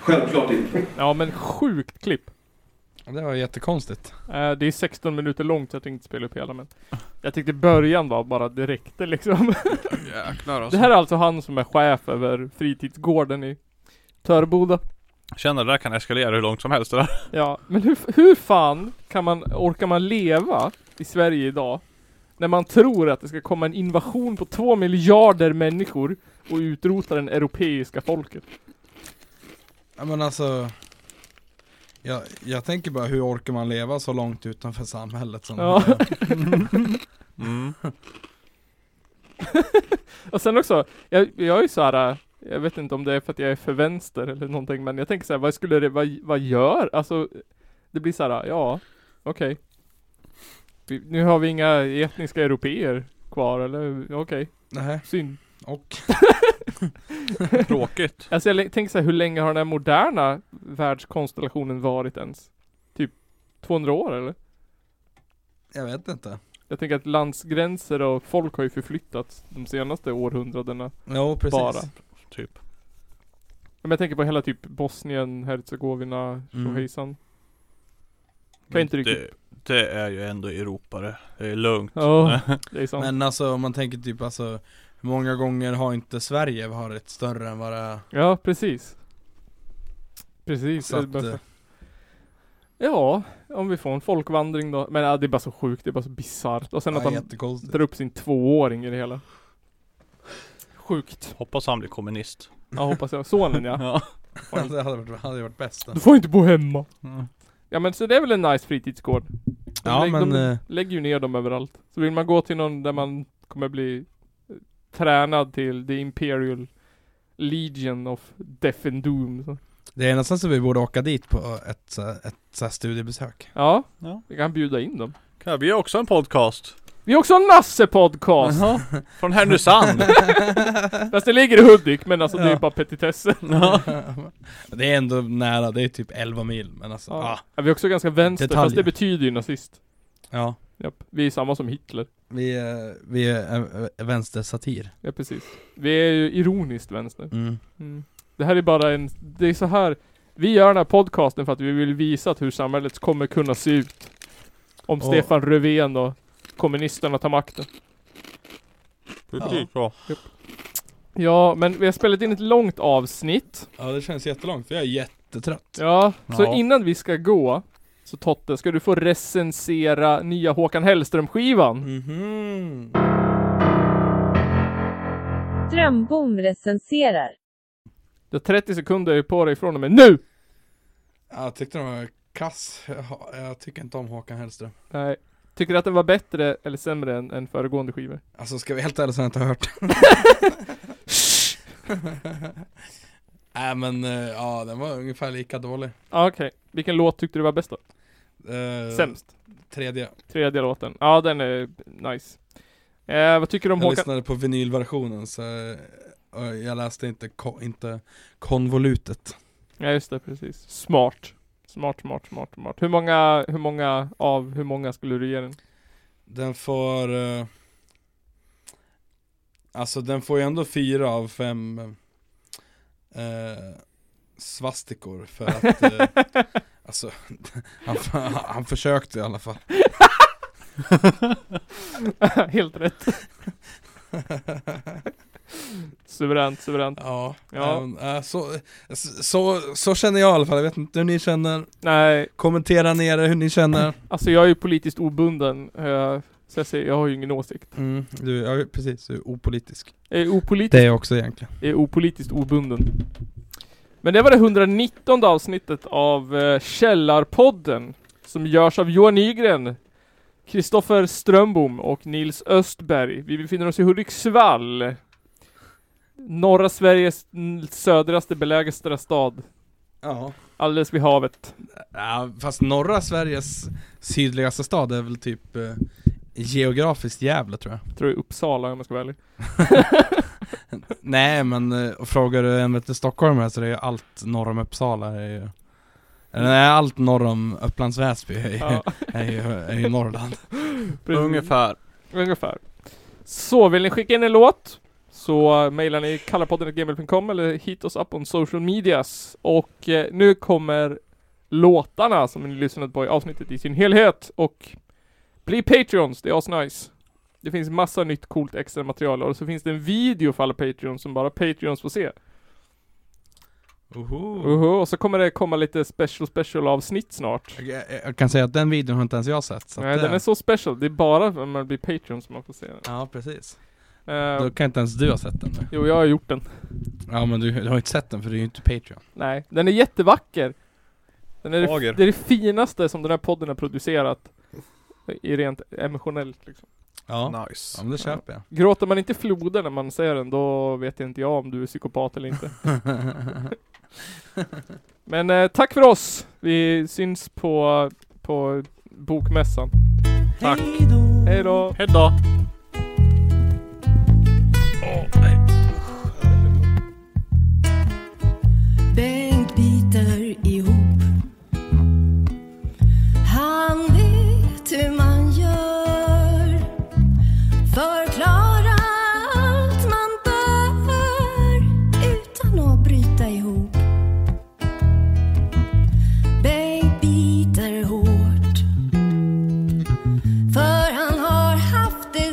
Självklart inte. Ja men sjukt klipp. Det var jättekonstigt. Eh, det är 16 minuter långt så jag tänkte inte spela upp hela men Jag tyckte början var bara direkt liksom. Jäklar Det alltså. här är alltså han som är chef över fritidsgården i Töreboda. Känner det där kan eskalera hur långt som helst det där. Ja, men hur, hur fan kan man, orkar man leva i Sverige idag? När man tror att det ska komma en invasion på två miljarder människor och utrota den europeiska folket. Ja men alltså jag, jag tänker bara hur orkar man leva så långt utanför samhället som Ja. man gör? Mm. Och sen också, jag, jag är ju så här. äh, jag vet inte om det är för att jag är för vänster eller någonting, men jag tänker så här, vad skulle det, vad, vad gör, alltså, det blir så här, äh, ja, okej. Vi- Nu har vi inga etniska europeer kvar, eller okej, Nej, synd. och Tråkigt. Alltså jag lä- tänker så här, hur länge har den här moderna världskonstellationen varit ens? Typ 200 år eller? jag vet inte Jag tänker att landsgränser och folk har ju förflyttats de senaste århundradena. Jo precis Bara. Typ. Men jag tänker på hela typ Bosnien, Herzegovina, Mm. tjohejsan. Kan inte riktigt. det, det är ju ändå Europa det. Det är lugnt. Ja, det är sant. Men alltså om man tänker typ alltså Hur många gånger har inte Sverige varit större än vad det är? Ja, precis. Precis. Så det är att, bara så- eh, Ja, om vi får en folkvandring då. Men ja, det är bara så sjukt, det är bara så bisarrt. Och sen ja, att han jättekonstigt drar upp sin tvååring i det hela. Sjukt. Hoppas han blir kommunist. Ja, hoppas jag. Sonen ja. Ja. Det hade varit, hade varit bäst alltså. Du får inte bo hemma. Mm. Ja men så det är väl en nice fritidsgård. De Ja lägg- men de eh, lägger ju ner dem överallt. Så vill man gå till någon där man kommer bli eh, tränad till The Imperial Legion of Death and Doom. Så. det är nästan så vi borde åka dit på eh, ett, så- ett så här studiebesök Ja, Ja. vi kan bjuda in dem. Kan vi också en podcast? Vi har också en Nasse-podcast! Jaha. Från Härnösand. Fast det ligger i Hudik, men alltså det är Ja. bara petitesser. Det är ändå nära, det är typ 11 mil men alltså Ja. ah, Ja, vi är också ganska vänster, fast det Detaljer. betyder ju nazist. ja Japp. Vi är samma som Hitler. Vi, eh, vi är eh, vänstersatir Ja, precis. Vi är ju ironiskt vänster. mm. Mm. Det här är bara en, det är så här Vi gör den här podcasten för att vi vill visa att hur samhället kommer kunna se ut Om Och- Stefan Löfven och kommunisterna tar makten Politik ja. Ja, men vi har spelat in ett långt avsnitt Ja det känns jättelångt, för jag är jättetrött Ja, så Ja. innan vi ska gå Så Totte, ska du få recensera nya Håkan Hellström-skivan? Mhm. Drömbom recenserar. Du har 30 sekunder på dig från och med nu! Jag tyckte den var kass, jag, ha- jag tycker inte om Håkan Hellström Nej Tycker du att den var bättre eller sämre än, än föregående skivor? Alltså ska vi helt ärligt så har jag inte hört Nej men eh, ja den var ungefär lika dålig Ah, Okej, vilken låt tyckte du var bäst då? Eh, Sämst? Tredje, Tredje låten. Ja, den är nice. Eh, vad tycker du om jag Håkan? lyssnade på vinylversionen så eh, och jag läste inte, ko- inte konvolutet Ja, just det, precis. Smart. Smart, smart, smart, smart. Hur många, hur många av, hur många skulle du ge den? Den får... eh, Alltså den får ju ändå fyra av fem eh, svastikor för att... Eh, alltså, han, han försökte i alla fall. Helt rätt. suveränt, suveränt. ja, Ja. även- eh, så, så, så känner jag i alla fall. Jag vet inte hur ni känner. Nej, Kommentera nere hur ni känner. alltså jag är ju politiskt obunden. eh, Så jag säger, jag har ju ingen åsikt. Eh, Mm, du, ja, precis, du är opolitisk. Jag är opolitisk Det är jag också egentligen. är opolitiskt obunden. Men det var det 119 avsnittet av eh, Källarpodden som görs av Johan Nygren, Kristoffer Strömbom och Nils Östberg. Vi befinner oss i Hudiksvall, norra Sveriges n- södraste belägsta stad, Ja. alldeles vid havet. ja, fast norra Sveriges sydligaste stad är väl typ eh, geografiskt Gävle tror jag. Jag tror det är Uppsala om jag ska vara ärlig. Nej men eh, och frågar du en vettig stockholmare så det är ju allt norr om Uppsala är ju eller nej, allt norr om Upplands Väsby är ju, Ja, är ju, är ju Norrland. precis. Ungefär. Ungefär. Så vill ni skicka in en låt så eh, mejlar ni kallarpodden.gmail.com eller hit oss upp on social medias. Och eh, nu kommer låtarna som ni lyssnat på i avsnittet i sin helhet och bli Patreons, det är asnice. Det finns massa nytt coolt extra material och så finns det en video för alla Patreons som bara Patreons får se. Oho. Oho, och så kommer det komma lite special special avsnitt snart. Jag, jag- jag kan säga att den videon har inte ens jag sett. Så att Nej, det, den är så special. Det är bara när man blir Patreon som man får se den. Ja precis. Eh, Då kan inte ens du ha sett den nu. jo, jag har gjort den. Ja men du, du har inte sett den för du är ju inte Patreon. Nej, den är jättevacker. Den är det, Fager. det är det finaste som den här podden har producerat. I rent emotionellt liksom. Ja. Ja Nice. men det köper jag. Gråter man inte floder när man ser den, då vet inte jag om du är psykopat eller inte. Men eh, tack för oss! Vi syns på, på bokmässan. Tack. Hej då! Hejdå. Bengt biter ihop. Han vet hur man gör. Förklara allt man bör utan att bryta ihop. Bengt biter hårt. För han har haft det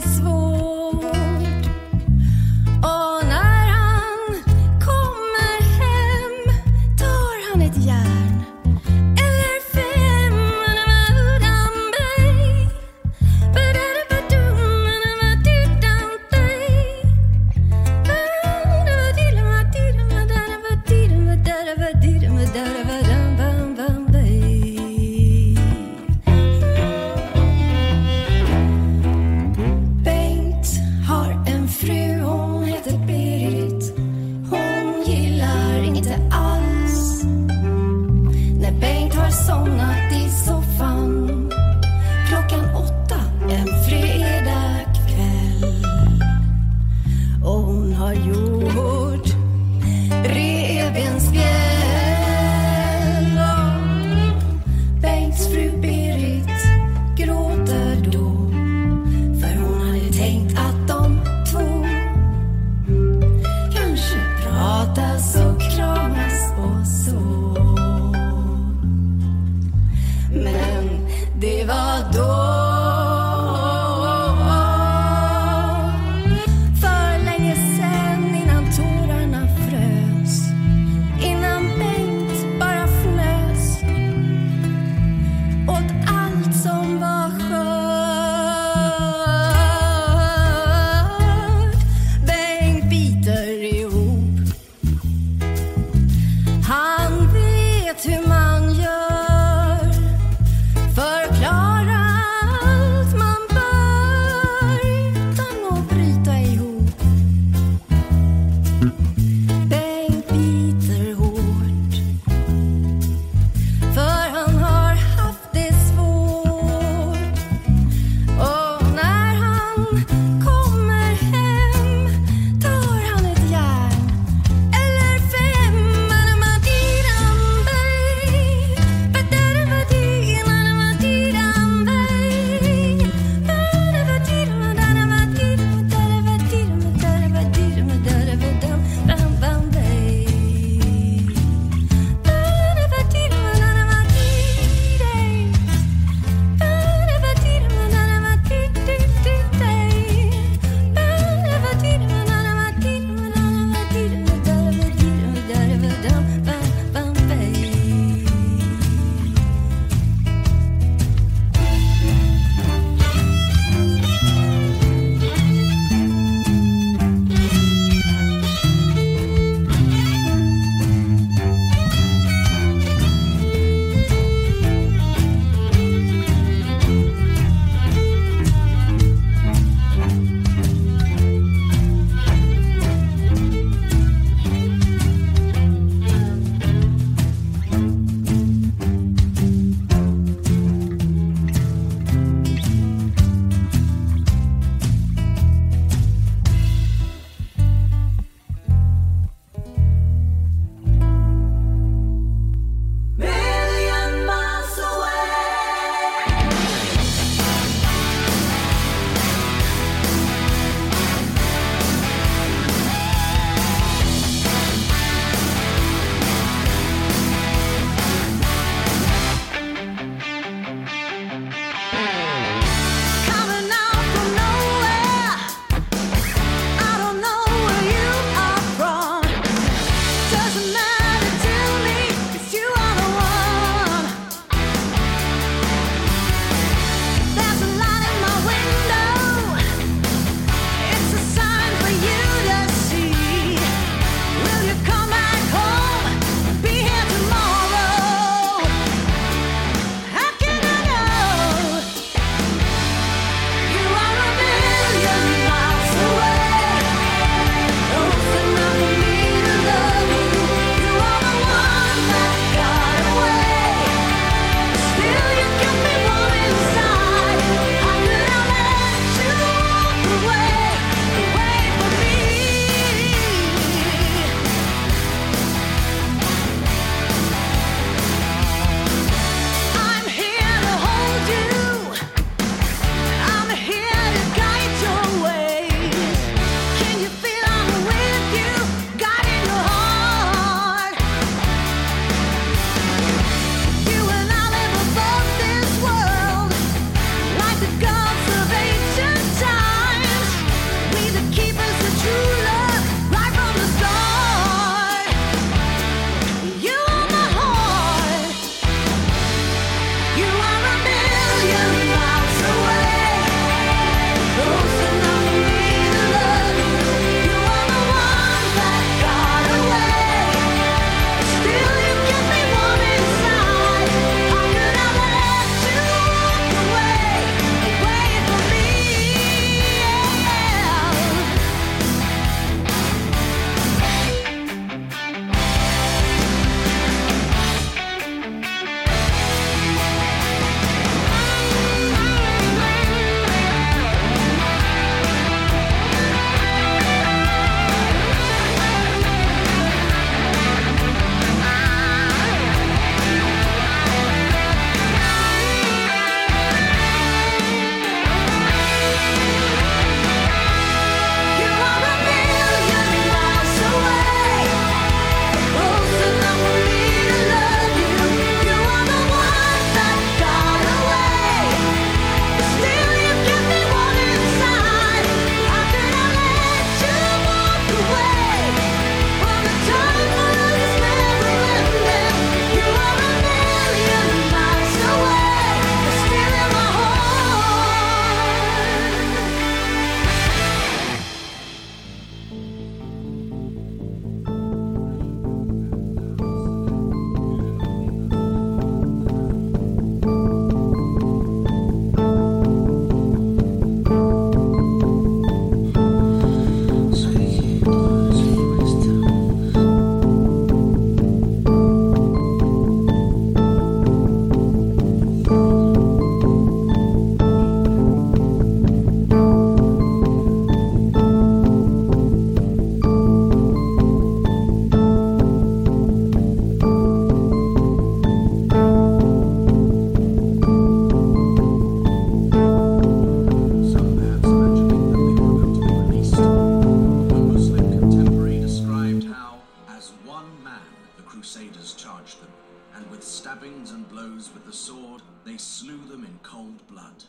charged them, and with stabbings and blows with the sword, they slew them in cold blood.